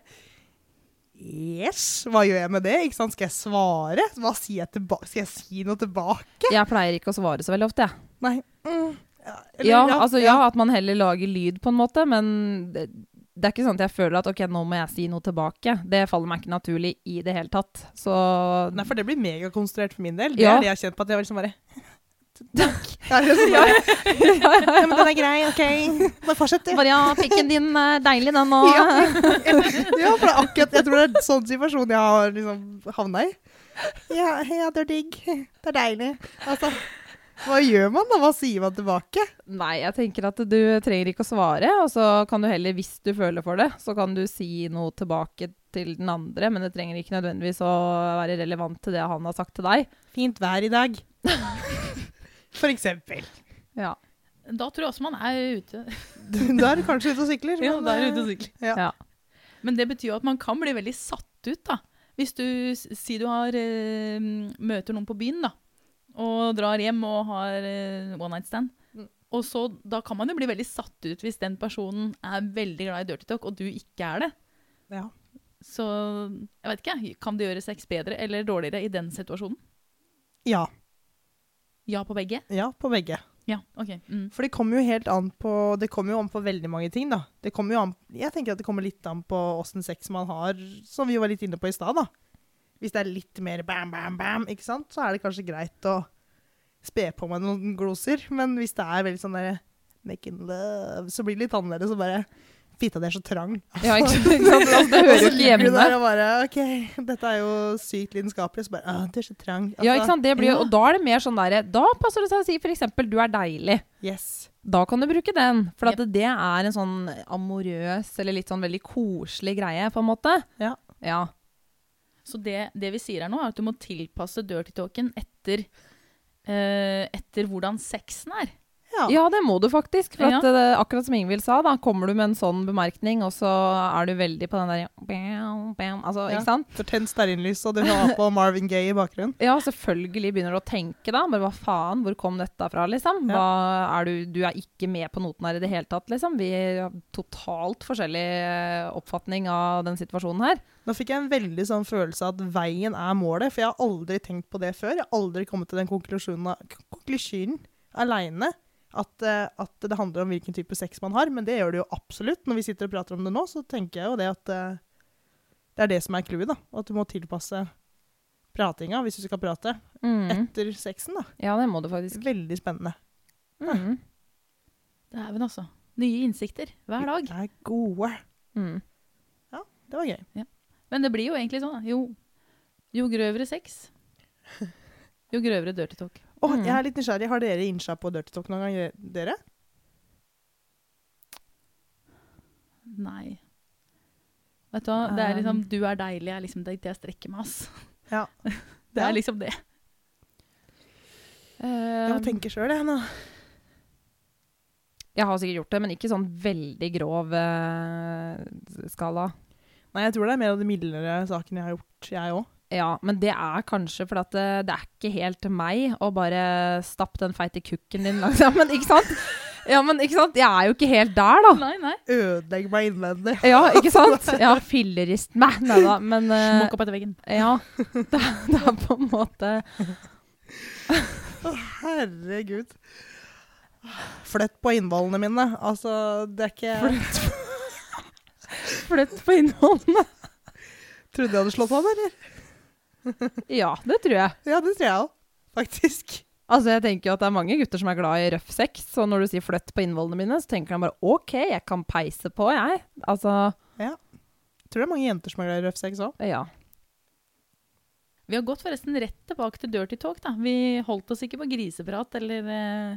Speaker 2: Yes, hva gjør jeg med det? Ikke sant? Skal jeg svare? Hva sier jeg tilbake? Skal jeg si noe tilbake?
Speaker 1: Jeg pleier ikke å svare så veldig ofte, jeg.
Speaker 2: Nei. Mm. Ja, eller-
Speaker 1: Ja, altså, ja, at man heller lager lyd, på en måte, men det, det er ikke sånn at jeg føler at ok, nå må jeg si noe tilbake. Det faller meg ikke naturlig i det hele tatt. Så
Speaker 2: Nei, for det blir megakonsentrert for min del. Det
Speaker 1: Ja.
Speaker 2: er det jeg har kjent på at jeg var liksom bare Takk. Ja, liksom bare, ja, men den er grei, OK. Bare fortsett, du.
Speaker 1: Bare ja, pikken din er deilig, den nå.
Speaker 2: Ja. ja, for det er akkurat Jeg tror det er en sånn situasjon jeg har liksom havna i. Ja, ja, det er digg. Det er deilig. Altså, hva gjør man da? Hva sier man tilbake?
Speaker 1: Nei, jeg tenker at du trenger ikke å svare, og så kan du heller, hvis du føler for det, så kan du si noe tilbake til den andre, men det trenger ikke nødvendigvis å være relevant til det han har sagt til deg.
Speaker 2: Fint vær i dag. For eksempel.
Speaker 1: Ja.
Speaker 3: Da tror jeg også man er ute.
Speaker 2: Da er du kanskje ute og sykler.
Speaker 3: Ja,
Speaker 2: men,
Speaker 3: da er du ute
Speaker 2: eh,
Speaker 3: og sykler.
Speaker 2: Ja.
Speaker 1: Ja.
Speaker 3: Men det betyr jo at man kan bli veldig satt ut, da. Hvis du s- sier du har, eh, møter noen på byen, da, og drar hjem og har eh, one night stand.
Speaker 2: Mm.
Speaker 3: Og så, Da kan man jo bli veldig satt ut hvis den personen er veldig glad i dirty talk, og du ikke er det.
Speaker 2: Ja.
Speaker 3: Så jeg vet ikke. Kan det gjøre sex bedre eller dårligere i den situasjonen?
Speaker 2: ja.
Speaker 3: Ja på begge?
Speaker 2: Ja, på begge.
Speaker 3: Ja, ok. Mm.
Speaker 2: For det kommer jo helt an på Det kommer jo an på veldig mange ting, da. Det kommer jo an, jeg tenker at det kommer litt an på åssen sex man har, som vi var litt inne på i stad, da. Hvis det er litt mer bam, bam, bam, ikke sant, så er det kanskje greit å spe på med noen gloser. Men hvis det er veldig sånn derre making love, så blir det litt annerledes å bare fitta di er så trang.
Speaker 1: Ja, ikke, ikke sant? Altså, det hører jo ikke hjemme
Speaker 2: der.
Speaker 1: der.
Speaker 2: Og bare, ok, dette er jo sykt lidenskapelig. Så bare, ah, du er så trang.
Speaker 1: Ja, ikke sant? Det blir, jo- og da er det mer sånn derre Da passer det seg å si f.eks. du er deilig.
Speaker 2: Yes.
Speaker 1: Da kan du bruke den. For at det er en sånn amorøs eller litt sånn veldig koselig greie, på en måte.
Speaker 2: Ja.
Speaker 1: Ja.
Speaker 3: Så det, det vi sier her nå, er at du må tilpasse dirty talken etter, eh, etter hvordan sexen er.
Speaker 2: Ja.
Speaker 1: ja, det må du faktisk. For
Speaker 3: Ja.
Speaker 1: at, eh, akkurat som Ingvild sa, da kommer du med en sånn bemerkning, og så er du veldig på den der bam, bam, Altså,
Speaker 2: Ja.
Speaker 1: ikke sant?
Speaker 2: For tent stearinlys, og du har på Marvin Gaye i bakgrunnen.
Speaker 1: Ja, selvfølgelig begynner du å tenke da. Men hva faen, hvor kom dette fra, liksom?
Speaker 2: Ja.
Speaker 1: Hva er du, du er ikke med på noten her i det hele tatt, liksom. Vi har totalt forskjellig eh, oppfatning av den situasjonen her.
Speaker 2: Nå fikk jeg en veldig sånn følelse av at veien er målet, for jeg har aldri tenkt på det før. Jeg har aldri kommet til den konklusjonen, k- konklusjonen aleine. At, eh, at det handler om hvilken type sex man har, men det gjør det jo absolutt. Når vi sitter og prater om det nå, så tenker jeg jo det at eh, det er det som er clouet. da. At du må tilpasse pratinga, hvis du skal prate,
Speaker 1: Mm.
Speaker 3: Mhm.
Speaker 2: etter sexen. da.
Speaker 1: Ja, det må du faktisk.
Speaker 2: Veldig spennende.
Speaker 1: Mm.
Speaker 3: Det er vel altså. Nye innsikter hver dag.
Speaker 2: Det er gode.
Speaker 1: Mm.
Speaker 2: Det var gøy.
Speaker 3: Men det blir jo egentlig sånn. da. Jo, jo grøvere sex, jo grøvere dirty talk.
Speaker 2: Åh,
Speaker 1: Mm.
Speaker 2: jeg er litt nysgjerrig. Har dere innsja på Dirty Talk noen gang? Dere?
Speaker 3: Nei. Vet du hva, det er liksom du er deilig, er liksom det det jeg strekker meg, ass.
Speaker 2: Ja.
Speaker 3: Det
Speaker 2: Ja.
Speaker 3: er liksom det.
Speaker 2: Jeg
Speaker 3: Um.
Speaker 2: må
Speaker 1: Eh,
Speaker 2: tenke sjøl, jeg nå.
Speaker 1: Jeg har sikkert gjort det, men ikke sånn veldig grov eh, skala.
Speaker 2: Nei, jeg tror det er mer av de mildere sakene jeg har gjort, jeg òg.
Speaker 1: Ja, men det er kanskje fordi at eh, det er ikke helt meg å bare stappe den feite kukken din langs ja, men, ikke sant? Ja, men ikke sant? Jeg er jo ikke helt der, da.
Speaker 3: Nei, nei.
Speaker 2: Ødelegg meg innvendig.
Speaker 1: Ja, ikke sant? Ja, fillerist meg. Nei da, men eh,
Speaker 3: Smokk opp etter veggen.
Speaker 1: Ja. Det, er- det er på en måte
Speaker 2: Å, herregud. Flytt på innvollene mine. Altså, det er ikke Jeg
Speaker 1: flytt på innholdene.
Speaker 2: trodde jeg hadde slått av, eller?
Speaker 1: Ja, det tror jeg.
Speaker 2: Ja, det tror jeg òg, faktisk.
Speaker 1: Altså, jeg tenker jo at det er mange gutter som er glad i røff sex, så når du sier flytt på innvollene mine, så tenker de bare OK, jeg kan peise på, jeg. Altså,
Speaker 2: Tror det er mange jenter som er glad i røff sex òg.
Speaker 1: ja.
Speaker 3: Vi har gått forresten rett tilbake til dirty talk, da. Vi holdt oss ikke på griseprat eller eh,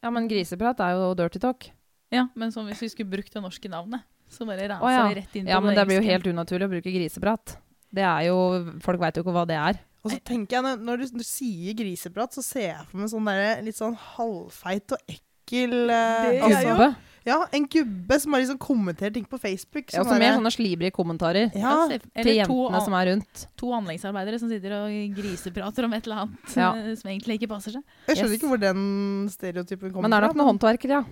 Speaker 1: Ja, men griseprat er jo dirty talk.
Speaker 3: Ja, men sånn hvis vi skulle brukt det norske navnet, så bare ransa
Speaker 1: Å, ja.
Speaker 3: vi rett inn på
Speaker 1: Ja, men det blir jo
Speaker 3: engelske.
Speaker 1: helt unaturlig å bruke griseprat. Det er jo, Folk veit jo ikke hva det er.
Speaker 2: Og så tenker jeg, når- når du, når du sier griseprat, så ser jeg for meg sånn der, litt sånn halvfeit og ekkel eh,
Speaker 3: Det er
Speaker 2: altså,
Speaker 1: Gubbe.
Speaker 2: Ja, en gubbe som har liksom kommentert ting på Facebook. som
Speaker 1: Ja, også
Speaker 2: er-
Speaker 1: mer sånn sånne slibrige kommentarer
Speaker 2: ja,
Speaker 3: Eller
Speaker 1: til
Speaker 3: to,
Speaker 1: jentene
Speaker 3: an-
Speaker 1: som er rundt.
Speaker 3: to anleggsarbeidere som sitter og griseprater om et eller annet
Speaker 1: Ja.
Speaker 3: eh, som egentlig ikke passer seg.
Speaker 2: Jeg skjønner
Speaker 1: Yes.
Speaker 2: ikke hvor den stereotypen kommer
Speaker 1: Men det er nok
Speaker 2: fra.
Speaker 1: noen håndverkere, ja.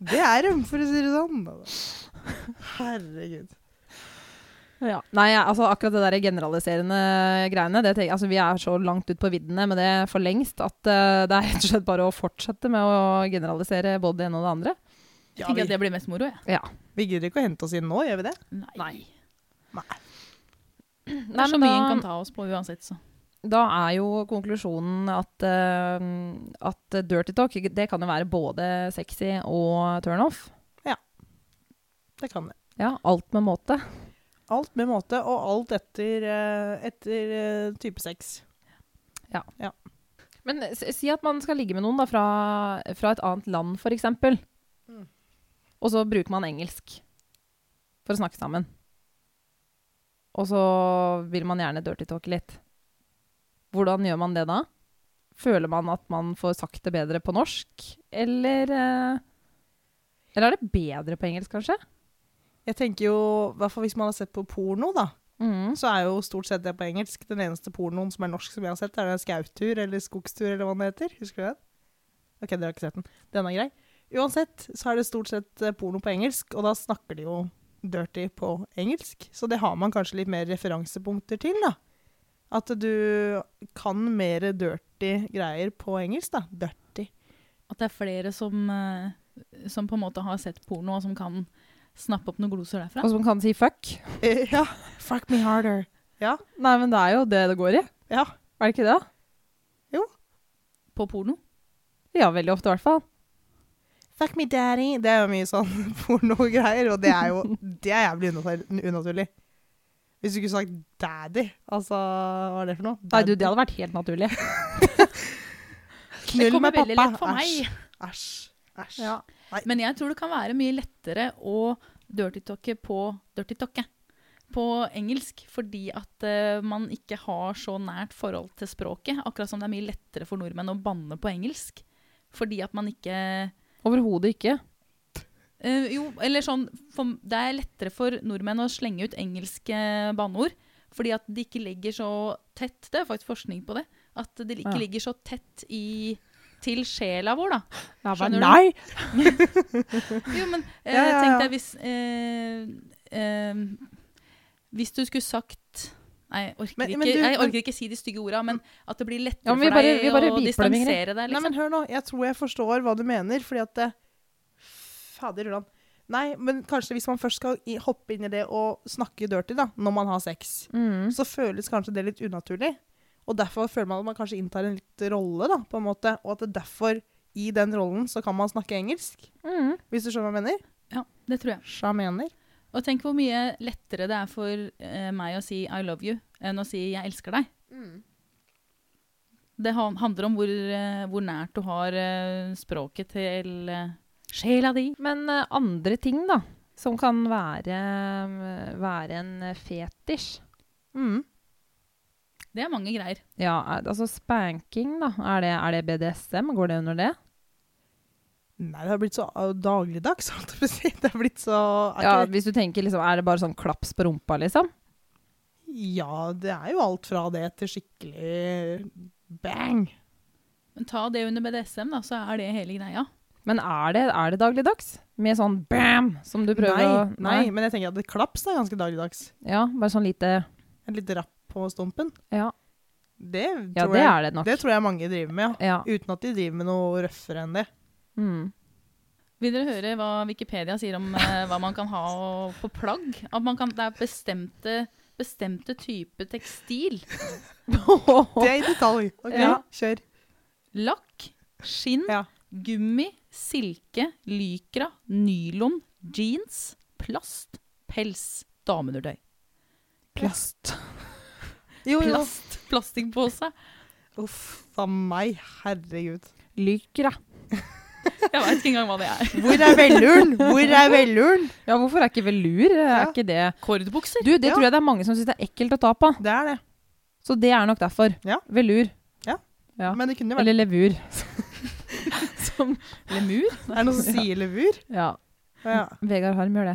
Speaker 2: Det er dem, for å si det sånn. Herregud.
Speaker 1: Ja. Nei, jeg- altså akkurat det der generaliserende greiene det tenker, altså, Vi er så langt ut på viddene med det for lengst at eh, det er rett og slett bare å fortsette med å generalisere både det ene og det andre.
Speaker 3: Jeg
Speaker 2: Ja,
Speaker 3: tenker
Speaker 2: vi-
Speaker 3: at det blir mest moro, jeg.
Speaker 1: Ja.
Speaker 2: Vi gidder ikke å hente oss inn nå, gjør vi det?
Speaker 3: Nei. Mm, Det
Speaker 1: Nei,
Speaker 3: er så
Speaker 1: men
Speaker 3: mye en
Speaker 1: da-
Speaker 3: kan ta oss på uansett, så.
Speaker 1: Da er jo konklusjonen at, eh, at dirty talk det kan jo være både sexy og turnoff.
Speaker 2: Det kan det.
Speaker 1: Ja, alt med måte.
Speaker 2: Alt med måte, og alt etter, eh, etter eh, type sex.
Speaker 1: Men s- si at man skal ligge med noen da, fra, fra et annet land, f.eks.
Speaker 2: Mm.
Speaker 1: Og så bruker man engelsk for å snakke sammen. Og så vil man gjerne dirty talke litt. Hvordan gjør man det da? Føler man at man får sagt det bedre på norsk, eller eh, Eller er det bedre på engelsk, kanskje?
Speaker 2: Jeg tenker jo, i hvert fall hvis man har sett på porno, da,
Speaker 1: Mm.
Speaker 2: så er jo stort sett det på engelsk. Den eneste pornoen som er norsk som jeg har sett, er den skautur eller skogstur eller hva den heter. Husker du den? Ok, dere har ikke sett den. Den er grei. Uansett så er det stort sett eh, porno på engelsk, og da snakker de jo dirty på engelsk. Så det har man kanskje litt mer referansepunkter til, da. At du kan mer dirty greier på engelsk, da. Dirty.
Speaker 3: At det er flere som, eh, som på en måte har sett porno, og som kan snappe opp noen gloser derfra.
Speaker 1: Og som kan si fuck.
Speaker 2: Eh, ja. Fuck me harder.
Speaker 1: Nei, men det er jo det det går i.
Speaker 2: Ja.
Speaker 1: Er det ikke det?
Speaker 3: På porno.
Speaker 1: Ja, veldig ofte i hvert fall.
Speaker 2: Fuck me daddy. Det er jo mye sånn pornogreier, og det er jo det er jævlig unatur- unaturlig. Hvis du ikke sagt daddy, altså Hva er det for noe?
Speaker 1: Nei, du, det hadde vært helt naturlig.
Speaker 3: Det
Speaker 2: Knull
Speaker 3: kommer
Speaker 2: med pappa.
Speaker 3: veldig lett for meg.
Speaker 2: Æsj. Æsj.
Speaker 1: Ja.
Speaker 3: Men jeg tror det kan være mye lettere å dirty-talke på dirty-talke på engelsk, fordi at eh, man ikke har så nært forhold til språket. Akkurat som det er mye lettere for nordmenn å banne på engelsk. Fordi at man ikke
Speaker 1: Overhodet ikke.
Speaker 3: eh, Jo, eller sånn for, Det er lettere for nordmenn å slenge ut engelske banneord. Fordi at de ikke ligger så tett Det er faktisk forskning på det. At de ikke
Speaker 1: Ja.
Speaker 3: ligger så tett i, til sjela vår, da.
Speaker 1: Ja,
Speaker 3: Skjønner du?
Speaker 1: nei!
Speaker 3: Jo, men eh,
Speaker 2: Ja, ja,
Speaker 3: tenk
Speaker 2: ja.
Speaker 3: deg hvis eh, eh, Hvis du skulle sagt Nei, jeg orker,
Speaker 2: Men-
Speaker 3: ikke,
Speaker 2: men du-
Speaker 3: jeg orker ikke si de stygge orda, men at det blir lettere
Speaker 1: Ja, men vi bare- vi
Speaker 3: for
Speaker 1: bare
Speaker 3: deg å
Speaker 1: viper dem, Ingrid.
Speaker 3: distansere deg.
Speaker 2: Nei,
Speaker 3: Liksom.
Speaker 2: men hør nå. Jeg tror jeg forstår hva du mener, fordi at det- Fader ulland. Nei, men kanskje hvis man først skal i, hoppe inn i det og snakke dirty da, når man har sex,
Speaker 1: Mm.
Speaker 2: så føles kanskje det litt unaturlig. Og derfor føler man at man kanskje inntar en litt rolle, da, på en måte. Og at det derfor, i den rollen, så kan man snakke engelsk.
Speaker 1: Mm.
Speaker 2: Hvis du skjønner hva jeg mener?
Speaker 3: Ja, det tror jeg.
Speaker 2: Sjamener.
Speaker 3: Og tenk hvor mye lettere det er for eh, meg å si 'I love you' enn å si 'jeg elsker deg'.
Speaker 2: Mm.
Speaker 3: Det han- handler om hvor, eh, hvor nært du har eh, språket til eh, sjela di.
Speaker 1: Men eh, andre ting, da, som kan være, eh, være en fetisj
Speaker 2: Mm.
Speaker 3: Det er mange greier.
Speaker 1: Ja, er- altså spanking, da. Er det, er det BDSM? Går det under det?
Speaker 2: Nei, det har blitt så uh, dagligdags, holdt jeg på å si. Det har blitt så er
Speaker 1: Ja,
Speaker 2: ikke-
Speaker 1: Hvis du tenker liksom Er det bare sånn klaps på rumpa, liksom?
Speaker 2: ja, det er jo alt fra det til skikkelig bang.
Speaker 3: Men ta det under BDSM, da, så er det hele greia.
Speaker 1: Men er det, er det dagligdags? Med sånn bam, som du prøver
Speaker 2: nei,
Speaker 1: å
Speaker 2: nei. men jeg tenker at det klaps er ganske dagligdags.
Speaker 1: Ja, bare sånn lite
Speaker 2: En litt rapp på stumpen.
Speaker 1: Ja,
Speaker 2: Det tror,
Speaker 1: ja det
Speaker 2: jeg,
Speaker 1: er det nok.
Speaker 2: det tror jeg mange driver med, ja.
Speaker 1: Ja.
Speaker 2: Uten at de driver med noe røffere enn det.
Speaker 1: Mm.
Speaker 3: Vil dere høre hva Wikipedia sier om eh, hva man kan ha og- på plagg? At man kan, det er bestemte, bestemte type tekstil.
Speaker 2: Det er i detalj. Ok,
Speaker 1: Ja.
Speaker 2: kjør.
Speaker 3: Lakk, skinn,
Speaker 2: Ja.
Speaker 3: gummi, silke, lykra, nylon, jeans, plast, pels, damenundertøy.
Speaker 1: Plast.
Speaker 2: Jo, jo.
Speaker 3: Plast, plastikkpose.
Speaker 2: Uff a meg, herregud.
Speaker 1: Lykra.
Speaker 3: Jeg veit ikke engang hva det er.
Speaker 2: Hvor er velluren? Hvor er velluren?
Speaker 1: Ja, hvorfor er ikke velur? Er ikke det
Speaker 3: Kordbukser.
Speaker 1: Du, det
Speaker 2: Ja.
Speaker 1: tror jeg det er mange som syns det er ekkelt å ta på.
Speaker 2: Det er det.
Speaker 1: Så det er nok derfor.
Speaker 2: Ja.
Speaker 1: Velur. Ja.
Speaker 2: Men det kunne jo vært
Speaker 1: Eller levur. som
Speaker 3: Lemur.
Speaker 2: Er det noen som sier levur?
Speaker 1: Ja.
Speaker 2: Ja.
Speaker 1: Vegard Harm gjør det.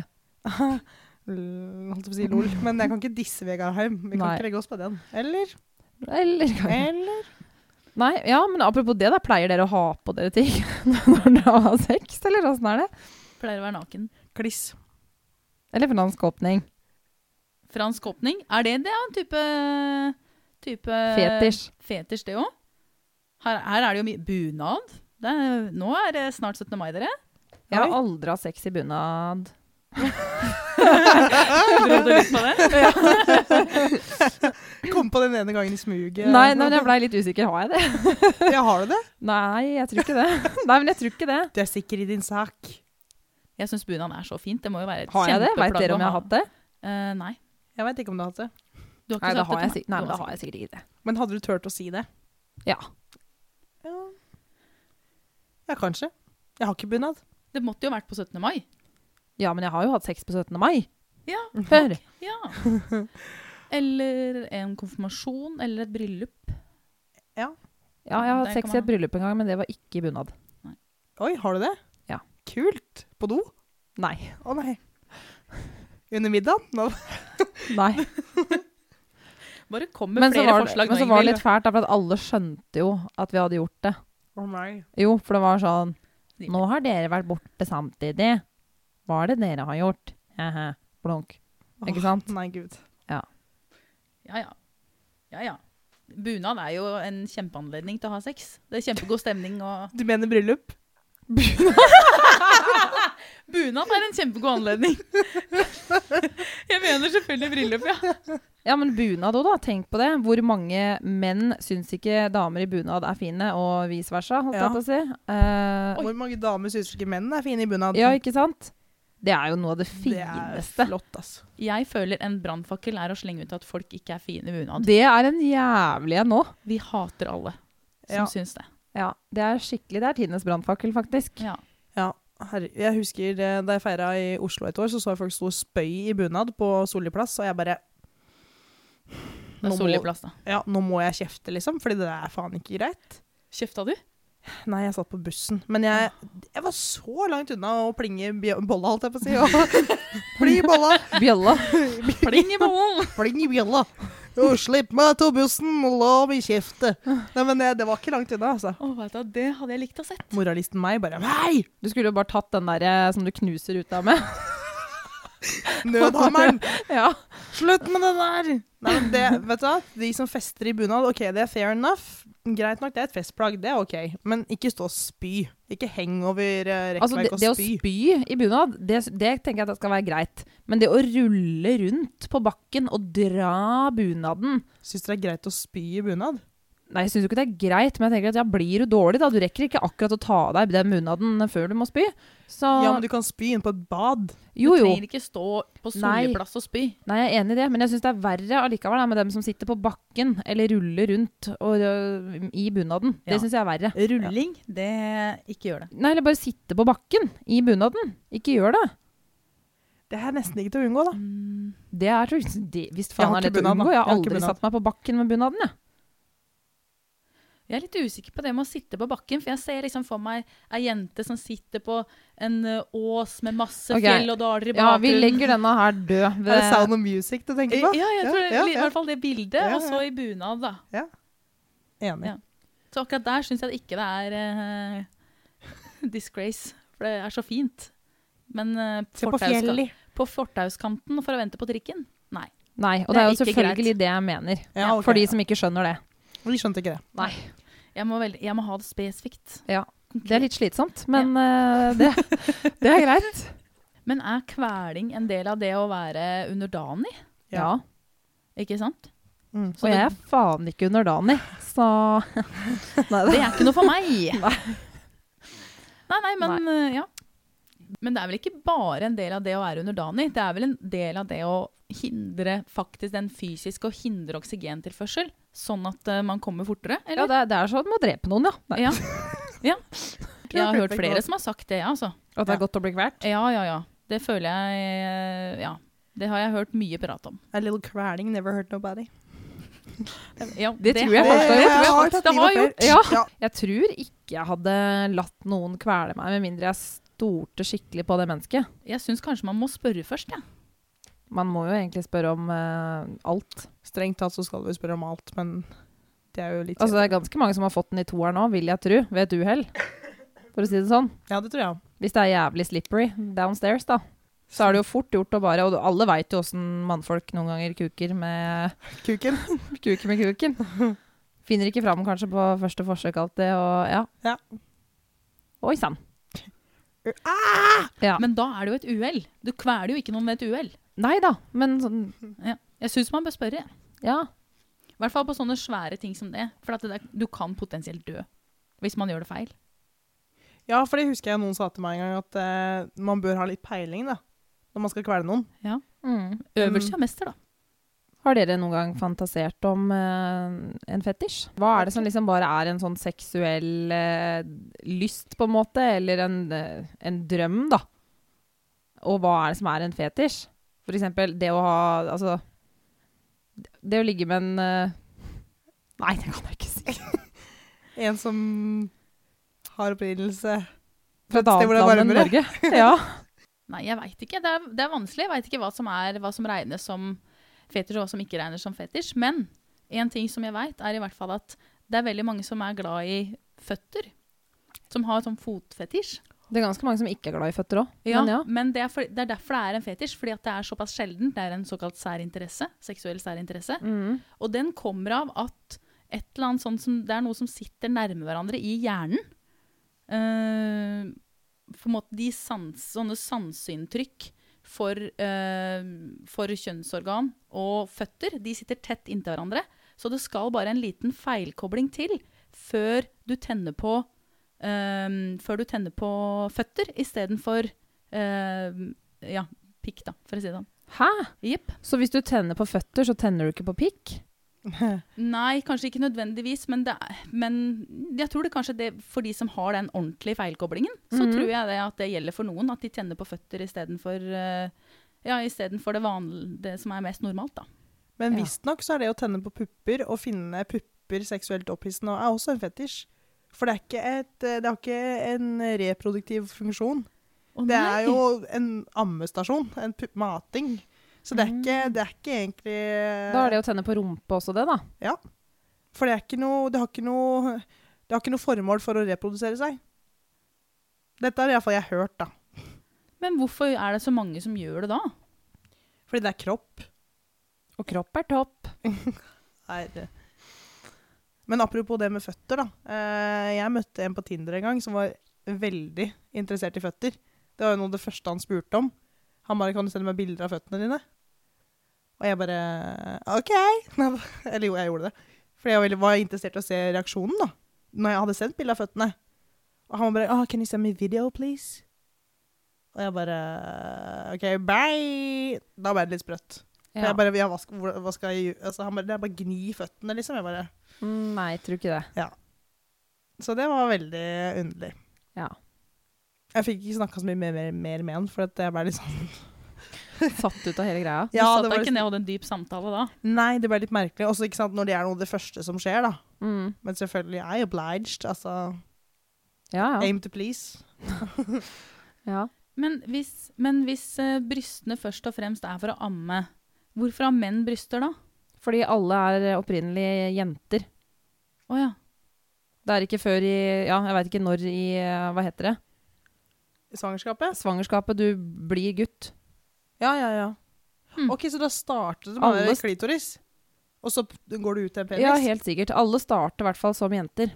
Speaker 2: L- Holdt på å si lol. Men jeg kan ikke disse Vegard Heim. Vi kan
Speaker 1: Nei.
Speaker 2: ikke legge oss på den. Eller?
Speaker 1: Eller
Speaker 2: Eller?
Speaker 1: Nei, ja, men apropos det, da. Pleier dere å ha på dere ting når dere har sex, eller åssen er det?
Speaker 3: Pleier å være naken.
Speaker 2: Kliss.
Speaker 1: Eller fransk åpning.
Speaker 3: Fransk åpning. Er det det, ja? En type, type
Speaker 1: Eh, Fetisj.
Speaker 3: Fetisj, det òg. Her, her er det jo mye bunad. Det er, nå er det snart 17. mai, dere.
Speaker 1: Jeg har
Speaker 2: Oi.
Speaker 1: aldri hatt sex i bunad.
Speaker 3: Dro du litt på det?
Speaker 2: Kom på den ene gangen i smuget.
Speaker 1: Nei, nei, men jeg blei litt usikker. Har jeg det?
Speaker 2: Ja, har du det?
Speaker 1: Nei, jeg tror ikke det. Nei, men jeg tror ikke det.
Speaker 2: Du er sikker i din sak.
Speaker 3: Jeg syns bunad er så fint. Det må jo være et
Speaker 1: Har jeg det? Veit
Speaker 3: kjempeplagg
Speaker 1: dere
Speaker 3: å
Speaker 1: om jeg har
Speaker 3: ha.
Speaker 1: hatt det?
Speaker 3: Eh, nei.
Speaker 2: Jeg veit ikke om du har hatt det.
Speaker 3: Du har
Speaker 1: Nei,
Speaker 3: ikke sagt
Speaker 1: da har jeg,
Speaker 3: til
Speaker 1: sik- nei,
Speaker 3: meg.
Speaker 1: men
Speaker 3: Du
Speaker 1: da
Speaker 3: har
Speaker 1: har jeg sikkert ikke det.
Speaker 2: Men hadde du turt å si det?
Speaker 1: Ja.
Speaker 2: Ja, ja kanskje. Jeg har ikke bunad.
Speaker 3: sagt- Det måtte jo vært på 17. mai.
Speaker 1: Ja, men jeg har jo hatt sex på 17. mai.
Speaker 3: Ja.
Speaker 1: Før.
Speaker 3: ja. Eller en konfirmasjon eller et bryllup.
Speaker 1: Ja, jeg har
Speaker 3: Der
Speaker 1: hatt sex
Speaker 3: kan
Speaker 1: i
Speaker 3: man-
Speaker 1: et bryllup en gang, men det var ikke i bunad.
Speaker 2: Oi, har du det?
Speaker 1: Ja.
Speaker 2: Kult. På do?
Speaker 1: Nei.
Speaker 2: Å nei. Under middagen? Nå.
Speaker 1: Nei.
Speaker 3: Bare kom med
Speaker 1: Men så
Speaker 3: flere
Speaker 1: var, det-
Speaker 3: forslag.
Speaker 1: men
Speaker 3: nå,
Speaker 1: så var det
Speaker 3: Ingvild.
Speaker 1: litt fælt, da, for at alle skjønte jo at vi hadde gjort det.
Speaker 2: Å nei.
Speaker 1: Jo, for det var sånn Nå har dere vært borte samtidig. Hva er det dere har gjort? Hehe. Blunk.
Speaker 2: Åh,
Speaker 1: Ikke sant?
Speaker 2: Nei, gud.
Speaker 3: Ja, ja. ja, ja. Bunad er jo en kjempeanledning til å ha sex. Det er kjempegod stemning og
Speaker 2: Du mener bryllup?
Speaker 3: Bunad er en kjempegod anledning. Jeg mener selvfølgelig bryllup, ja.
Speaker 1: Ja, men bunad òg, da. Tenk på det. Hvor mange menn syns ikke damer i bunad er fine, og vice versa, holdt jeg
Speaker 2: Ja.
Speaker 1: på å si. Eh,
Speaker 2: Hvor mange damer syns ikke menn er fine i bunad?
Speaker 1: ja, ikke sant? Det er jo noe av det
Speaker 2: det er
Speaker 1: fineste.
Speaker 2: flott, altså.
Speaker 3: Jeg føler en brannfakkel er å slenge ut at folk ikke er fine i bunad.
Speaker 1: Det er en jævlig en nå.
Speaker 3: Vi hater alle som
Speaker 2: Ja.
Speaker 3: syns det.
Speaker 1: Ja, det er skikkelig. Det er tidenes brannfakkel, faktisk.
Speaker 3: Ja.
Speaker 2: Ja, herre, jeg husker eh, da jeg feira i Oslo et år, så så jeg folk stå og spøy i bunad på Solli plass, og jeg bare
Speaker 3: Det
Speaker 2: Nå
Speaker 3: er
Speaker 2: må-
Speaker 3: Solli plass, da.
Speaker 2: Ja, nå må jeg kjefte, liksom, fordi det er faen ikke greit.
Speaker 3: Kjefta du?
Speaker 2: Nei, jeg satt på bussen, men jeg, jeg var så langt unna å plinge bj- bolla, holdt jeg på å si. Og, pli bolla!
Speaker 1: Bjølla.
Speaker 3: Pling i bollen!
Speaker 2: Pling i bjella! Og slipp meg til bussen, og la meg kjefte! Nei, men eh, det var ikke langt unna, altså.
Speaker 3: Å, vet du, hva, det hadde jeg likt å sett.
Speaker 2: Moralisten meg bare Nei!
Speaker 1: Du skulle jo bare tatt den der eh, som du knuser ruta med.
Speaker 2: Nødhammeren!
Speaker 1: ja.
Speaker 2: Slutt med det der! Nei, men det, vet du hva? De som fester i bunad, ok, det er fair enough. Greit nok, det er et festplagg, det er ok. Men ikke stå og spy. Ikke heng over eh, rekkverk
Speaker 1: Altså, det, det å
Speaker 2: og spy.
Speaker 1: spy i bunad, det, det tenker jeg at det skal være greit. Men det å rulle rundt på bakken og dra bunaden
Speaker 2: Syns dere det er greit å spy i bunad?
Speaker 1: Nei, jeg syns jo ikke det er greit, men jeg tenker at ja, blir du dårlig, da. Du rekker ikke akkurat å ta av deg den bunaden før du må spy. Så
Speaker 2: Ja, men du kan spy inn på et bad.
Speaker 1: jo,
Speaker 3: Du
Speaker 1: jo.
Speaker 3: trenger ikke stå
Speaker 1: Nei.
Speaker 3: på Solli plass og spy.
Speaker 1: Nei, jeg er enig i det, men jeg syns det er verre allikevel da, med dem som sitter på bakken eller ruller rundt og, øh, i bunaden.
Speaker 3: Ja.
Speaker 1: Det syns jeg er verre.
Speaker 3: Rulling, det Ikke gjør det.
Speaker 1: Nei, eller bare sitte på bakken i bunaden. Ikke gjør det.
Speaker 2: Det er nesten ikke til å unngå, da.
Speaker 3: Mm,
Speaker 1: Det er tror jeg- det, Hvis faen
Speaker 2: har
Speaker 1: er
Speaker 2: ikke
Speaker 1: det til å
Speaker 2: bunad, da.
Speaker 1: unngå.
Speaker 2: Jeg
Speaker 1: Jeg har
Speaker 2: har ikke
Speaker 1: aldri
Speaker 2: bunad.
Speaker 1: satt meg på bakken med bunaden, jeg.
Speaker 3: Jeg er litt usikker på det med å sitte på bakken, for jeg ser liksom for meg ei jente som sitter på en ø, ås med masse
Speaker 1: Ok.
Speaker 3: fjell og daler i
Speaker 1: Ja, vi
Speaker 3: bakgrunnen.
Speaker 1: legger denne her
Speaker 2: Er
Speaker 1: død.
Speaker 2: det Sound of Music du tenker på?
Speaker 3: Ja, jeg tror
Speaker 2: ja,
Speaker 3: i
Speaker 2: ja.
Speaker 3: hvert fall det bildet,
Speaker 2: Ja, ja.
Speaker 3: og så i bunad, da.
Speaker 2: Enig.
Speaker 3: Ja. Så akkurat der syns jeg ikke det er eh, disgrace, for det er så fint. Men eh,
Speaker 2: Se på
Speaker 3: fortaus-
Speaker 2: fjellet.
Speaker 3: på fortauskanten for å vente på trikken? Nei.
Speaker 1: Nei, og
Speaker 3: Det
Speaker 1: det
Speaker 3: er
Speaker 1: er jo
Speaker 3: ikke
Speaker 1: selvfølgelig
Speaker 3: greit.
Speaker 1: det jeg mener.
Speaker 2: Ja, ok.
Speaker 1: For de som ikke skjønner det.
Speaker 2: Vi skjønte ikke det.
Speaker 1: Nei.
Speaker 3: Jeg må, vel- jeg må ha det spesifikt.
Speaker 1: Ja. Det er litt slitsomt, men øh, det, det er greit.
Speaker 3: Men er kveling en del av det å være underdanig?
Speaker 1: Ja.
Speaker 3: Ikke sant?
Speaker 2: Mm.
Speaker 1: Og jeg er faen ikke underdanig, så Nei,
Speaker 3: Det er ikke noe for meg.
Speaker 1: Nei.
Speaker 3: Nei, nei, men eh, ja. Men det er vel ikke bare en del av det å være underdanig. Det er vel en del av det å hindre faktisk den fysiske og hindre oksygentilførsel, sånn at eh, man kommer fortere,
Speaker 1: Ja,
Speaker 3: eller?
Speaker 1: det, er- det er sånn med å drepe noen, ja. Nei.
Speaker 3: Ja. ja. Jeg har hørt flere som har sagt det, ja, altså.
Speaker 1: At det er godt å bli kvalt.
Speaker 3: Ja, ja, ja. Det føler jeg eh, Ja. Det har jeg hørt mye prat om.
Speaker 2: A little crawling never hurt nobody.
Speaker 3: Ja,
Speaker 1: Det tror jeg faktisk har
Speaker 3: det
Speaker 1: gjort.
Speaker 3: har jeg
Speaker 2: har
Speaker 3: faktisk-
Speaker 2: tatt
Speaker 3: det har
Speaker 2: livet
Speaker 3: jeg
Speaker 2: før.
Speaker 1: gjort.
Speaker 2: Ja.
Speaker 1: Jeg tror ikke jeg hadde latt noen kvele meg, med mindre jeg stolte skikkelig på det mennesket.
Speaker 3: Jeg syns kanskje man må spørre først, jeg.
Speaker 1: Man må jo egentlig spørre om eh, alt.
Speaker 2: Strengt tatt så skal vi spørre om alt, men det er jo litt
Speaker 1: Altså, det er ganske mange som har fått den i toeren nå, vil jeg tro, ved et uhell. For å si det sånn.
Speaker 2: Ja, det tror jeg.
Speaker 1: Hvis det er jævlig slippery downstairs, da. Så er det jo fort gjort å bare Og alle veit jo åssen mannfolk noen ganger kuker med
Speaker 2: Kuken.
Speaker 1: Kuker med kuken. Finner ikke fram kanskje på første forsøk alltid, og ja.
Speaker 2: Ja.
Speaker 1: Oi sann. Ja.
Speaker 3: Men da er det jo et uhell. Du kveler jo ikke noen ved et uhell.
Speaker 1: Nei da, men sånn
Speaker 3: Ja. Jeg syns man bør spørre. jeg.
Speaker 1: Ja.
Speaker 3: I hvert fall på sånne svære ting som det. For at det der, du kan potensielt dø hvis man gjør det feil.
Speaker 2: Ja, for det husker jeg noen sa til meg en gang, at eh, man bør ha litt peiling da, når man skal kvele noen.
Speaker 1: Mm.
Speaker 3: Øvelse er mester, da.
Speaker 1: Har dere noen gang fantasert om eh, en fetisj? Hva er det som liksom bare er en sånn seksuell eh, lyst, på en måte, eller en, eh, en drøm, da? Og hva er det som er en fetisj? For eksempel det å ha Altså, det å ligge med en eh, Nei, det kan jeg ikke si.
Speaker 2: En som har opprinnelse.
Speaker 1: Fra et
Speaker 2: sted hvor
Speaker 1: annet
Speaker 2: det er
Speaker 1: land enn Norge. Ja.
Speaker 3: Nei, jeg veit ikke. Det er, det er vanskelig. Jeg veit ikke hva som, er, hva som regnes som fetisj, og hva som ikke regnes som fetisj. Men en ting som jeg veit, er i hvert fall at det er veldig mange som er glad i føtter. Som har sånn fotfetisj.
Speaker 1: Det er ganske mange som ikke er glad i føtter òg.
Speaker 3: Ja,
Speaker 1: Men ja.
Speaker 3: Men det er, for, det er derfor det er en fetisj, fordi at det er såpass sjelden. Det er en såkalt særinteresse. Seksuell særinteresse.
Speaker 1: Mm.
Speaker 3: Og den kommer av at et eller annet sånt som, det er noe som sitter nærme hverandre i hjernen. eh, på en måte de sans, sånne sanseinntrykk for, eh, for kjønnsorgan og føtter, de sitter tett inntil hverandre. Så det skal bare en liten feilkobling til før du tenner på, eh, før du tenner på føtter istedenfor uh, ja, pikk, da, for å si det sånn.
Speaker 1: Hæ?
Speaker 3: Jepp.
Speaker 1: Så hvis du tenner på føtter, så tenner du ikke på pikk?
Speaker 3: Nei, kanskje ikke nødvendigvis, men, det, er- men jeg tror det kanskje det, for de som har den ordentlige feilkoblingen, så
Speaker 1: Mhm.
Speaker 3: tror jeg det at det gjelder for noen, at de tenner på føtter istedenfor uh, ja, i stedet for det, vanlige, det som er mest normalt, da.
Speaker 2: Men
Speaker 1: Ja.
Speaker 2: visstnok så er det å tenne på pupper og finne pupper seksuelt opphissende er også en fetisj. For det, er ikke et, eh, det har ikke en reproduktiv funksjon.
Speaker 3: Å,
Speaker 2: Det
Speaker 3: nei!
Speaker 2: er jo en ammestasjon. En pu- mating. Så det er ikke, det er ikke egentlig
Speaker 1: Mm. Da er det å tenne på rumpe også det, da.
Speaker 2: For det, er ikke noe, det, har ikke noe, det har ikke noe formål for å reprodusere seg. Dette har iallfall jeg hørt, da.
Speaker 3: Men hvorfor er det så mange som gjør det da?
Speaker 2: Fordi det er kropp.
Speaker 1: Og kropp er topp.
Speaker 2: Nei, det- eh, Men apropos det med føtter, da. Eh, Jeg møtte en på Tinder en gang som var veldig interessert i føtter. Det var jo noe av det første han spurte om. Han bare 'Kan du sende meg bilder av føttene dine?' Og jeg bare 'OK'. Nei, da- Eller jo, jeg gjorde det. Fordi jeg var veldig- var interessert i å se reaksjonen, da. Når jeg hadde sendt bilde av føttene. Og han bare 'Ah, can you send me video, please?' Og jeg bare 'OK, bye'. Da ble det litt sprøtt. For
Speaker 1: Ja.
Speaker 2: Jeg bare, ja, hva, skal, hvor- hva skal jeg gjøre? Altså, han bare, det er bare gni føttene, liksom. Jeg bare.
Speaker 1: Mm, Nei, tror ikke det.
Speaker 2: Så det var veldig underlig.
Speaker 1: Ja.
Speaker 2: Jeg fikk ikke snakka så mye mer, mer, mer med han, for at jeg ble litt sånn
Speaker 1: Satt ut av hele greia.
Speaker 3: Du satt
Speaker 2: det
Speaker 3: deg
Speaker 2: var
Speaker 3: ikke
Speaker 2: litt,
Speaker 3: ned og hadde en dyp samtale da?
Speaker 2: Nei, det ble litt merkelig. Også ikke sant, når det er noe av det første som skjer, da.
Speaker 1: Mm.
Speaker 2: Men selvfølgelig, I obliged. Altså,
Speaker 1: Ja, ja.
Speaker 2: aim to please.
Speaker 1: ja.
Speaker 3: Men hvis, men hvis eh, brystene først og fremst er for å amme, hvorfor har menn bryster da?
Speaker 1: Fordi alle er opprinnelig jenter.
Speaker 3: Å ja.
Speaker 1: Det er ikke før i Ja, jeg veit ikke når i eh, Hva heter det?
Speaker 2: I Svangerskapet?
Speaker 1: Svangerskapet du blir gutt.
Speaker 2: Ja, ja, ja.
Speaker 3: Hmm.
Speaker 2: OK, så da startet det
Speaker 1: Alle
Speaker 2: med
Speaker 1: st-
Speaker 2: klitoris? Og så p- går det ut til en penis?
Speaker 1: Ja, helt sikkert. Alle starter i hvert fall som jenter.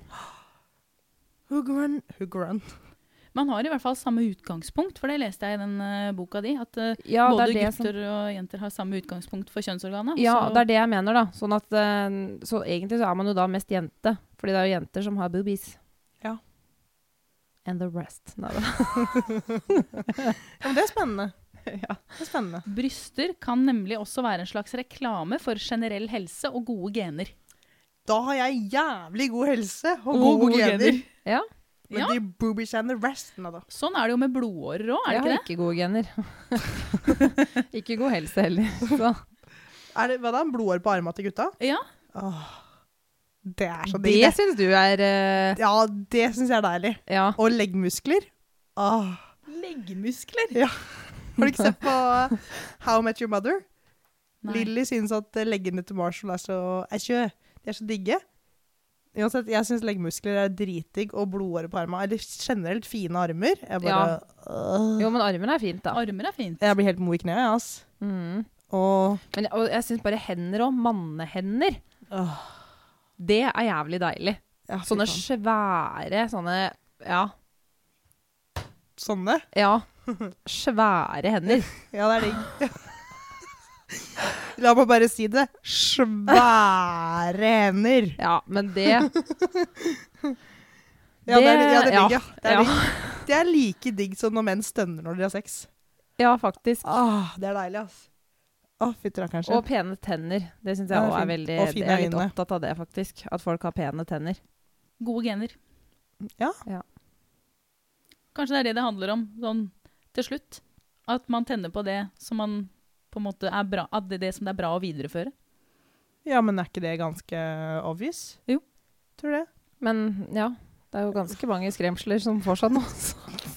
Speaker 2: Who grun? Who grun?
Speaker 3: Man har i hvert fall samme utgangspunkt, for det leste jeg i den eh, boka di. At eh,
Speaker 1: Ja,
Speaker 3: Både
Speaker 1: det er det som-
Speaker 3: gutter og jenter har samme utgangspunkt for kjønnsorganet.
Speaker 1: Ja,
Speaker 3: så-
Speaker 1: det er det jeg mener, da. Sånn at, eh, så egentlig så er man jo da mest jente, fordi det er jo jenter som har boobies.
Speaker 2: Ja.
Speaker 1: And the rest. Nei da.
Speaker 2: Ja, men det er spennende.
Speaker 1: ja.
Speaker 2: Det er spennende.
Speaker 3: Bryster kan nemlig også være en slags reklame for generell helse og gode gener.
Speaker 2: Da har jeg jævlig god helse og
Speaker 3: Og
Speaker 2: gode,
Speaker 3: gode
Speaker 2: gener.
Speaker 3: gener.
Speaker 1: Ja.
Speaker 2: Men
Speaker 3: Ja.
Speaker 2: de boobies and the rest, nå da.
Speaker 3: Sånn er det jo med blodårer òg, er det
Speaker 1: Jeg
Speaker 3: ikke
Speaker 1: har
Speaker 3: det?
Speaker 1: ikke gode gener. ikke god helse heller. Så.
Speaker 2: Er det, hva da? Blodår på armene til gutta?
Speaker 3: Ja.
Speaker 2: Åh, det er så digg.
Speaker 1: Det syns du er eh,
Speaker 2: Ja, det syns jeg er deilig.
Speaker 1: Ja.
Speaker 2: Og leggmuskler. Åh.
Speaker 3: Leggmuskler.
Speaker 2: Har du ikke sett på How I Met Your Mother?
Speaker 3: Nei.
Speaker 2: Lilly synes at eh, leggene til Marshall er så, er så, de er så digge. Uansett, jeg syns leggmuskler er dritdigg, og blodårer på armene. Eller generelt fine armer. Jeg bare åh.
Speaker 1: Jo, men armene er fint, da.
Speaker 3: Armer er fint.
Speaker 2: Jeg blir helt mo i kneet, jeg, ass.
Speaker 1: Mm.
Speaker 2: Og
Speaker 1: Men, og jeg syns bare hender òg. Mannehender. Det er jævlig deilig.
Speaker 2: ja, fy
Speaker 1: Sånne
Speaker 2: faen.
Speaker 1: svære sånne Ja.
Speaker 2: Sånne?
Speaker 1: ja. Svære hender.
Speaker 2: Ja, det er digg. La meg bare si det. Svære hender.
Speaker 1: Ja, men det
Speaker 2: Ja, det, er, ja, det er
Speaker 1: ja.
Speaker 2: digg, ja. Det er,
Speaker 1: Ja.
Speaker 2: digg. det er like digg som når menn stønner når de har sex.
Speaker 1: Ja, faktisk.
Speaker 2: Ah, det er deilig, ass. Å, fytti rakkeren
Speaker 1: Og
Speaker 2: sin.
Speaker 1: pene tenner. Det syns jeg
Speaker 2: Ja, det er
Speaker 1: òg er
Speaker 2: fint.
Speaker 1: veldig
Speaker 2: Og fine
Speaker 1: Jeg er litt
Speaker 2: øyne.
Speaker 1: opptatt av det, faktisk. At folk har pene tenner.
Speaker 3: Gode gener.
Speaker 2: Ja.
Speaker 1: Ja.
Speaker 3: Kanskje det er det det handler om sånn til slutt. At man tenner på det som man på en måte er bra, at det er det som det er bra å videreføre.
Speaker 2: Ja, men er ikke det ganske obvious?
Speaker 3: Jo.
Speaker 2: Tror det.
Speaker 1: Men ja, det er jo ganske mange skremsler som får sånn, seg nå. så.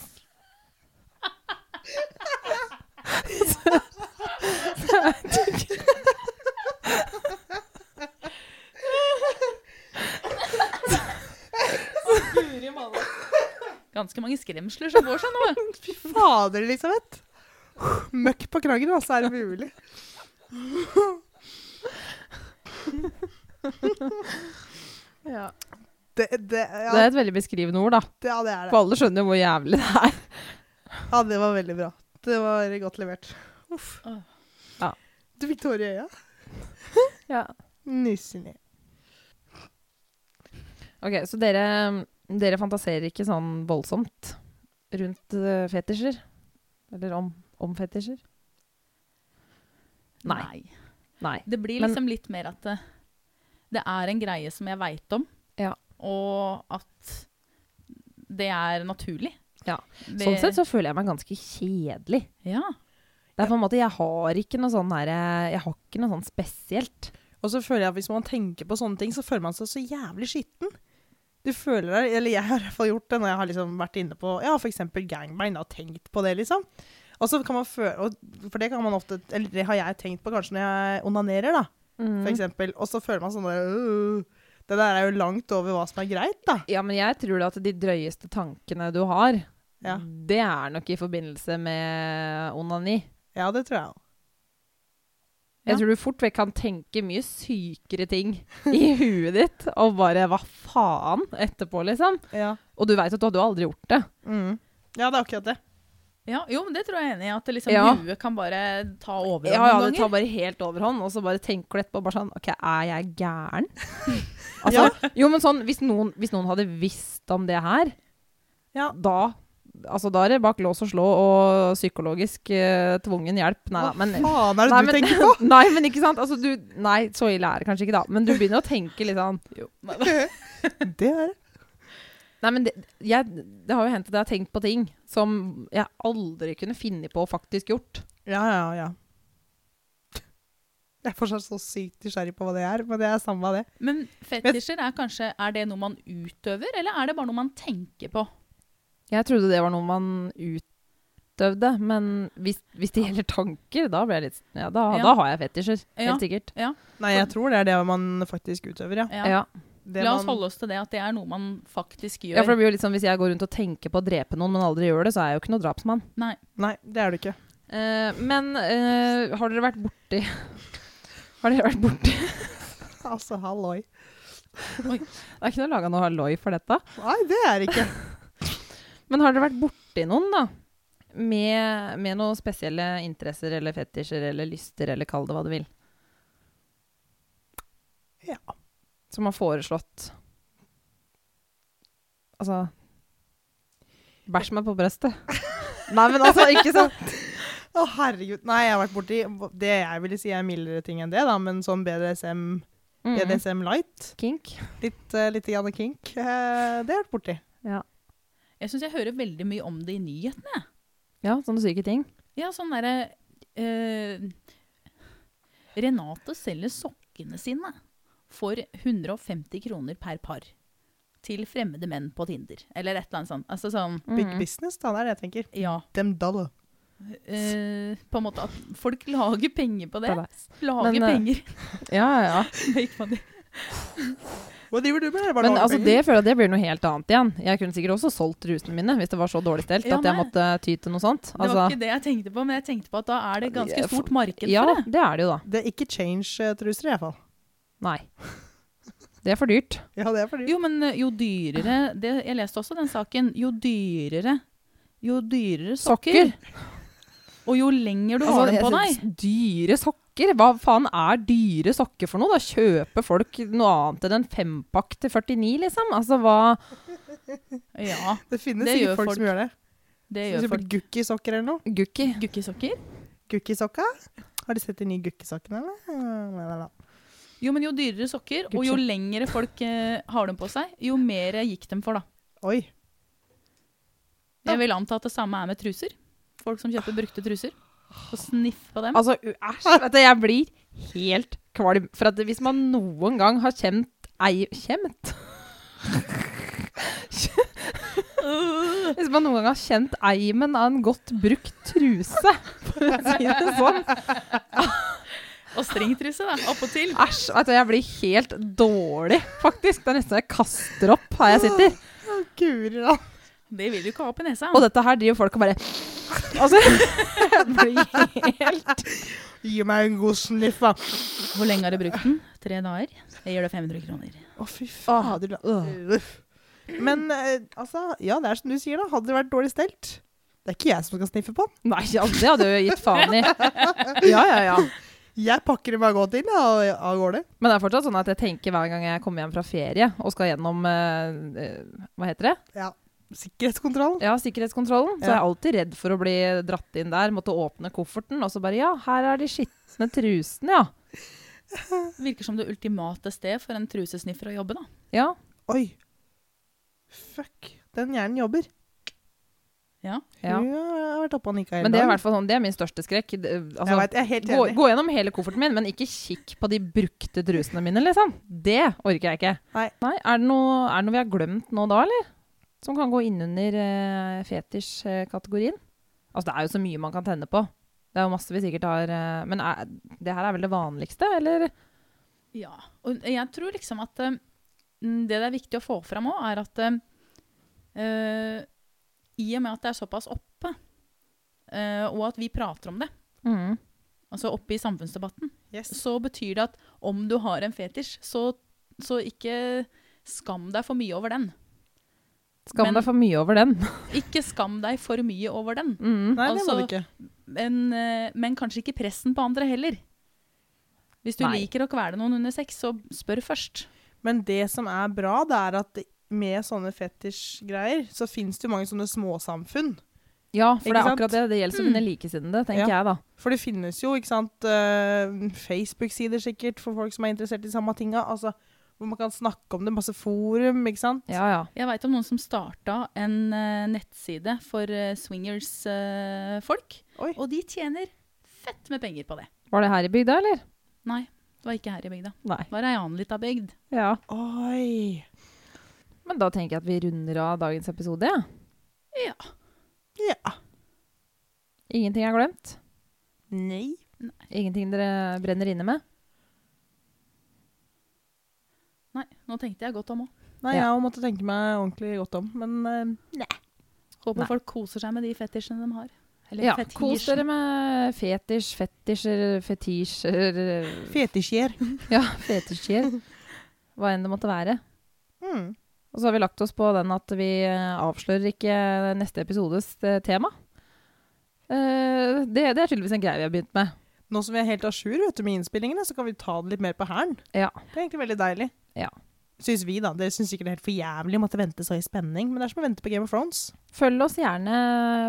Speaker 3: Ganske mange skremsler som går seg nå.
Speaker 2: Fy fader, Elisabeth. Møkk på kragen, altså, er det mulig. Det, det,
Speaker 1: Det er
Speaker 2: ja,
Speaker 1: et veldig beskrivende ord, da.
Speaker 2: det, ja, det er
Speaker 1: For
Speaker 2: det.
Speaker 1: alle skjønner jo hvor jævlig det er.
Speaker 2: Ja, det var veldig bra. Det var godt levert. Uff.
Speaker 3: Åh.
Speaker 1: Ja.
Speaker 2: Du fikk tårer i øya.
Speaker 1: Ja.
Speaker 2: Nyselig.
Speaker 1: Ok, Så dere, dere fantaserer ikke sånn voldsomt rundt eh, fetisjer? Eller om, om fetisjer? Nei. Nei.
Speaker 3: Det blir
Speaker 1: Men-
Speaker 3: liksom litt mer at det, det er en greie som jeg veit om,
Speaker 1: Ja.
Speaker 3: og at det er naturlig.
Speaker 1: Ja.
Speaker 3: Det,
Speaker 1: Sånn sett så føler jeg meg ganske kjedelig.
Speaker 3: Ja.
Speaker 1: Det er på en måte, Jeg har ikke noe sånn her, eh, jeg har ikke noe sånn spesielt.
Speaker 2: Og så føler jeg at hvis man tenker på sånne ting, så føler man seg så jævlig skitten. Du føler deg, eller jeg har i hvert fall gjort det når jeg har liksom vært inne på ja, for eksempel gangbang og tenkt på det, liksom. Og så kan man føle, og for det kan man ofte, eller det har jeg tenkt på kanskje når jeg onanerer, da,
Speaker 3: Mm.
Speaker 1: Mm.
Speaker 2: for eksempel. Og så føler man sånn der, øh, det der er jo langt over hva som er greit, da.
Speaker 1: Ja, men jeg tror da at de drøyeste tankene du har,
Speaker 2: Ja.
Speaker 1: det er nok i forbindelse med onani.
Speaker 2: Ja, det tror jeg også.
Speaker 1: Jeg
Speaker 3: Ja.
Speaker 1: tror du fort vekk kan tenke mye sykere ting i huet ditt, og bare hva faen etterpå, liksom.
Speaker 2: Ja.
Speaker 1: Og du veit at du hadde jo aldri gjort det.
Speaker 2: Mm. ja, det er akkurat det.
Speaker 3: ja. Jo, men det tror jeg er enig i. At det liksom
Speaker 1: Ja.
Speaker 3: huet kan bare ta over
Speaker 1: Ja, ja, det
Speaker 3: noen
Speaker 1: tar
Speaker 3: ganger.
Speaker 1: bare helt overhånd, og så bare tenker du etterpå bare sånn OK, er jeg gæren? altså, Jo, men sånn, hvis noen, hvis noen hadde visst om det her,
Speaker 2: Ja.
Speaker 1: da Altså, da er det bak lås og slå og psykologisk eh, tvungen hjelp. Nei da, men
Speaker 2: Hva faen er det du
Speaker 1: men,
Speaker 2: tenker på?
Speaker 1: nei, men ikke sant? Altså, du, nei, så ille er det kanskje ikke, da. Men du begynner å tenke litt sånn
Speaker 2: Det er det.
Speaker 1: Nei, men det, jeg, det har jo hendt at jeg har tenkt på ting som jeg aldri kunne finne på å faktisk gjort.
Speaker 2: Ja, ja, ja. Jeg er fortsatt så sykt nysgjerrig på hva det er, men det er samme av det.
Speaker 3: Men fetisjer er kanskje Er det noe man utøver, eller er det bare noe man tenker på?
Speaker 1: Jeg trodde det var noe man utøvde, men hvis, hvis det gjelder tanker, da, blir jeg litt, ja, da,
Speaker 3: Ja.
Speaker 1: da har jeg fetisjer.
Speaker 3: Ja.
Speaker 1: Helt sikkert.
Speaker 2: Nei, jeg tror det er det man faktisk utøver, ja.
Speaker 3: Ja.
Speaker 1: Ja.
Speaker 2: Det
Speaker 3: La oss
Speaker 2: man-
Speaker 3: holde oss til det, at det er noe man faktisk gjør.
Speaker 1: ja, for det blir jo litt sånn hvis jeg går rundt og tenker på å drepe noen, men aldri gjør det, så er jeg jo ikke noe drapsmann.
Speaker 3: Nei.
Speaker 2: Nei, det er du ikke.
Speaker 1: Eh, men eh, har dere vært borti Har dere vært borti
Speaker 2: Altså, halloi.
Speaker 1: Det er ikke noe laga noe halloi for dette.
Speaker 2: Nei, det er ikke.
Speaker 1: Men har dere vært borti noen, da? Med, med noen spesielle interesser eller fetisjer eller lyster, eller kall det hva du vil?
Speaker 2: Ja.
Speaker 1: Som har foreslått Altså Bæsj meg på brøstet. Nei, men altså, ikke sant?
Speaker 2: sånn- Å, herregud. Nei, jeg har vært borti det jeg ville si er mildere ting enn det, da, men sånn BDSM,
Speaker 1: Mm.
Speaker 2: BDSM light,
Speaker 1: Kink.
Speaker 2: litt, uh, litt grann kink, eh, det har jeg vært borti.
Speaker 3: Jeg syns jeg hører veldig mye om det i nyhetene.
Speaker 1: Ja, sånne syke ting.
Speaker 3: Ja, sånn derre eh, Renate selger sokkene sine for 150 kroner per par. Til fremmede menn på Tinder, eller et eller annet sånt. Altså sånn,
Speaker 2: Big
Speaker 1: Mm.
Speaker 2: business, da, det er det jeg tenker.
Speaker 3: ja.
Speaker 2: Dem dollar.
Speaker 3: eh, på en måte at folk lager penger på det.
Speaker 1: På det.
Speaker 3: Lager
Speaker 1: Men, eh,
Speaker 3: penger.
Speaker 1: Ja, ja, ja.
Speaker 3: Make money.
Speaker 2: Hva driver du med? Er det bare
Speaker 1: Men
Speaker 2: noe
Speaker 1: altså,
Speaker 2: penger?
Speaker 1: det føler jeg det blir noe helt annet igjen. Jeg kunne sikkert også solgt rusene mine hvis det var så dårlig stelt
Speaker 3: Ja,
Speaker 1: at jeg
Speaker 3: nei.
Speaker 1: måtte ty til noe sånt.
Speaker 3: Det var
Speaker 1: Altså,
Speaker 3: ikke det jeg tenkte på, men jeg tenkte på at da er det ganske
Speaker 1: Jeg-
Speaker 3: stort marked
Speaker 1: ja,
Speaker 3: for det.
Speaker 1: det er det jo, da.
Speaker 2: Det er ikke change-truser, i hvert fall.
Speaker 1: Nei. Det er for dyrt.
Speaker 2: Ja, det er fordi
Speaker 3: Jo, men eh, jo dyrere det, Jeg leste også den saken. Jo dyrere Jo dyrere sokker, og jo lenger
Speaker 1: Altså,
Speaker 3: du har dem på deg
Speaker 1: Dyre sokker? Hva faen er dyre sokker for noe? Da kjøper folk noe annet enn en fempakk til 49, liksom. Altså hva
Speaker 3: Ja,
Speaker 2: Det finnes
Speaker 3: Det gjør
Speaker 2: sikkert folk,
Speaker 3: folk.
Speaker 2: som gjør det.
Speaker 3: det
Speaker 2: For
Speaker 3: gjør
Speaker 2: eksempel
Speaker 3: folk.
Speaker 2: Gukkisokker eller noe.
Speaker 1: Gukki.
Speaker 3: Gukkisokker?
Speaker 2: Gukkisokka? Har du sett de nye gukkisokkene, eller? La, la, la.
Speaker 3: Jo, men jo dyrere sokker, og jo
Speaker 1: Gukki.
Speaker 3: lengre folk eh, har dem på seg, jo mer gikk dem for, da.
Speaker 2: Oi.
Speaker 3: Jeg vil anta at det samme er med truser. Folk som kjøper brukte truser. Og sniff på dem.
Speaker 1: Altså, u- æsj. Vet du, jeg blir helt kvalm. For at hvis man noen gang har kjent ei Kjent? Hvis man noen gang har kjent eimen av en godt brukt truse, for å si det sånn,
Speaker 3: Og stringtruse, da. Oppåtil.
Speaker 1: Æsj. Vet du, jeg blir helt dårlig, faktisk. Det er nesten så jeg kaster opp her jeg sitter.
Speaker 2: Guri, da.
Speaker 3: Det vil du ikke ha opp i nesa.
Speaker 1: Og dette her driver folk og bare
Speaker 2: Altså,
Speaker 3: Jeg blir helt
Speaker 2: gi meg en god sniff, da.
Speaker 3: Hvor lenge har du brukt den? Tre dager? Jeg gir deg 500 kroner.
Speaker 2: Å, fy fader. da. Uff. Men eh, altså, ja, det er som du sier, da. Hadde det vært dårlig stelt Det er ikke jeg som skal sniffe på den.
Speaker 1: Nei, ja, det hadde jeg jo gitt faen i. Ja, ja, ja.
Speaker 2: Jeg pakker det bare godt inn ja, og av gårde.
Speaker 1: Men det er fortsatt sånn at jeg tenker hver gang jeg kommer hjem fra ferie og skal gjennom eh, eh, Hva heter det?
Speaker 2: Sikkerhetskontrollen.
Speaker 1: Ja, sikkerhetskontrollen. Så
Speaker 2: Ja.
Speaker 1: er jeg alltid redd for å bli dratt inn der, måtte åpne kofferten, og så bare Ja, her er de skitne trusene, ja.
Speaker 3: Virker som det ultimate sted for en trusesniffer å jobbe, da.
Speaker 1: Ja,
Speaker 2: Oi. Fuck. Den hjernen jobber.
Speaker 1: ja.
Speaker 2: Hun har vært oppe og nikka hele
Speaker 1: Men det er i
Speaker 2: dagen.
Speaker 1: hvert fall sånn, det er min største skrekk. Det-
Speaker 2: jeg
Speaker 1: Altså,
Speaker 2: vet, jeg er helt
Speaker 1: gå,
Speaker 2: enig.
Speaker 1: gå gjennom hele kofferten min, men ikke kikk på de brukte trusene mine, liksom. Det orker jeg ikke.
Speaker 2: Nei.
Speaker 1: er, det noe, er det noe vi har glemt nå da, eller? Som kan gå innunder uh, fetisj-kategorien? Altså, det er jo så mye man kan tenne på. Det er jo masse vi sikkert har eh, Men er, det her er vel det vanligste, eller?
Speaker 3: Ja, og jeg tror liksom at eh, mm, det det er viktig å få fram òg, er at eh, i og med at det er såpass oppe, eh, og at vi prater om det,
Speaker 1: Mm.
Speaker 3: altså oppe i samfunnsdebatten,
Speaker 2: Yes.
Speaker 3: så betyr det at om du har en fetisj, så, så ikke skam deg for mye over den.
Speaker 1: Skam
Speaker 3: Men-
Speaker 1: deg for mye over den.
Speaker 3: Ikke skam deg for mye over den,
Speaker 1: Mm.
Speaker 2: Nei, det må du
Speaker 3: Altså-
Speaker 2: ikke.
Speaker 3: men, eh, men kanskje ikke pressen på andre heller. Hvis du
Speaker 1: Nei.
Speaker 3: liker å kvele noen under sex, så spør først.
Speaker 2: Men det som er bra, det er at med sånne fetisjgreier, så fins det jo mange sånne småsamfunn.
Speaker 1: Ja, for
Speaker 2: Ikke
Speaker 1: det er
Speaker 2: sant?
Speaker 1: akkurat det. Det gjelder så
Speaker 3: Mm.
Speaker 1: mye likesinnede,
Speaker 2: Ja.
Speaker 1: tenker jeg da.
Speaker 2: For det finnes jo, ikke sant, eh, Facebook-sider sikkert for folk som er interessert i samme tinga. Altså, hvor man kan snakke om det. Masse forum, ikke sant.
Speaker 1: Ja, ja.
Speaker 3: Jeg veit om noen som starta en eh, nettside for eh, swingers-folk.
Speaker 2: Oi.
Speaker 3: og de tjener fett med penger på det.
Speaker 1: Var det her i bygda, eller?
Speaker 3: Nei, det var ikke her i bygda.
Speaker 1: Nei.
Speaker 3: Det var ei annen lita bygd.
Speaker 1: Ja.
Speaker 2: Oi.
Speaker 1: Men da tenker jeg at vi runder av dagens episode. Ja.
Speaker 2: Ja.
Speaker 1: Ingenting er glemt.
Speaker 2: Nei.
Speaker 1: Ingenting dere brenner inne med.
Speaker 3: Nei, nå tenkte jeg godt om òg.
Speaker 2: Nei,
Speaker 1: Ja.
Speaker 2: jeg måtte tenke meg ordentlig godt om, men eh,
Speaker 3: Håper
Speaker 1: Nei.
Speaker 3: folk koser seg med de fetisjene de har. Eller
Speaker 1: Ja,
Speaker 3: fetisjen.
Speaker 1: kos dere med fetisj, fetisjer, fetisjer eh,
Speaker 2: fetisjer.
Speaker 1: Ja, fetisjer. Hva enn det måtte være.
Speaker 2: Mm.
Speaker 1: Og så har vi lagt oss på den at vi eh, avslører ikke neste episodes eh, tema. Eh, Det, det er tydeligvis en greie vi har begynt med.
Speaker 2: Nå som vi er helt à jour vet du, med innspillingene, så kan vi ta det litt mer på hælen.
Speaker 1: Ja.
Speaker 2: Det er egentlig veldig deilig.
Speaker 1: Ja.
Speaker 2: Syns vi, da. Dere syns sikkert det er helt for jævlig å måtte vente så i spenning, men det er som å vente på Game of Thrones.
Speaker 1: Følg oss gjerne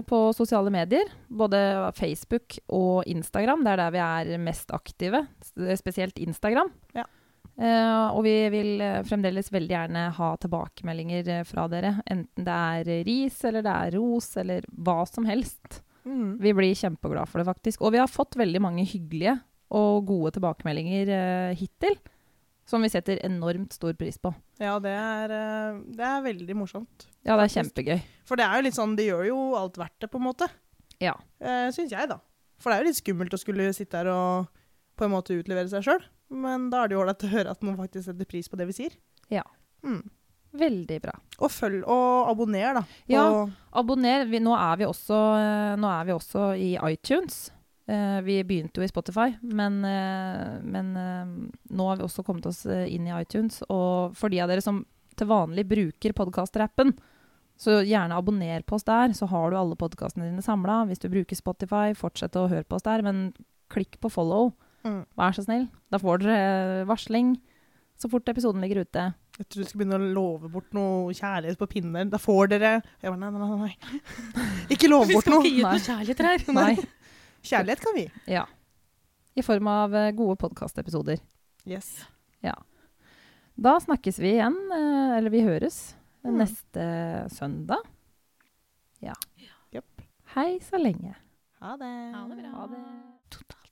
Speaker 1: på sosiale medier, både Facebook og Instagram. Det er der vi er mest aktive, s- spesielt Instagram.
Speaker 2: Ja.
Speaker 1: Eh, og vi vil eh, fremdeles veldig gjerne ha tilbakemeldinger eh, fra dere. Enten det er ris, eller det er ros, eller hva som helst. Vi blir kjempeglad for det, faktisk. Og vi har fått veldig mange hyggelige og gode tilbakemeldinger eh, hittil, som vi setter enormt stor pris på.
Speaker 2: Ja, det er, eh, det er veldig morsomt.
Speaker 1: Ja, det er kjempegøy.
Speaker 2: For det er jo litt sånn, det gjør jo alt verdt det, på en måte.
Speaker 1: Ja.
Speaker 2: Eh, Syns jeg, da. For det er jo litt skummelt å skulle sitte her og på en måte utlevere seg sjøl. Men da er det jo ålreit å høre at noen faktisk setter pris på det vi sier.
Speaker 1: Ja.
Speaker 2: Mm.
Speaker 1: Veldig bra.
Speaker 2: Og følg og abonner, da. på-
Speaker 1: Ja. Abonner. Vi, nå, er vi også, eh, nå er vi også i iTunes. Eh, vi begynte jo i Spotify, men, eh, men eh, nå har vi også kommet oss eh, inn i iTunes. Og for de av dere som til vanlig bruker podkastrappen, så gjerne abonner på oss der. Så har du alle podkastene dine samla. Hvis du bruker Spotify, fortsett å høre på oss der. Men klikk på follow,
Speaker 2: Mm.
Speaker 1: vær så snill. Da får dere eh, varsling så fort episoden ligger ute.
Speaker 2: Jeg trodde du skulle begynne å love bort noe kjærlighet på pinner. Da får dere jeg bare, nei, nei, nei, nei. Ikke love
Speaker 3: Vi
Speaker 2: bort
Speaker 3: skal
Speaker 2: noe.
Speaker 3: ikke gi ut
Speaker 1: Nei.
Speaker 3: noe kjærlighet her.
Speaker 1: Nei.
Speaker 2: Kjærlighet kan vi.
Speaker 1: Ja. I form av eh, gode podkastepisoder.
Speaker 2: Yes.
Speaker 1: Da snakkes vi igjen, eh, eller vi høres,
Speaker 2: Mm.
Speaker 1: neste søndag. Ja.
Speaker 2: Japp.
Speaker 1: Hei så lenge.
Speaker 2: Ha det.
Speaker 3: Ha det bra.
Speaker 1: Ha det.
Speaker 3: Total.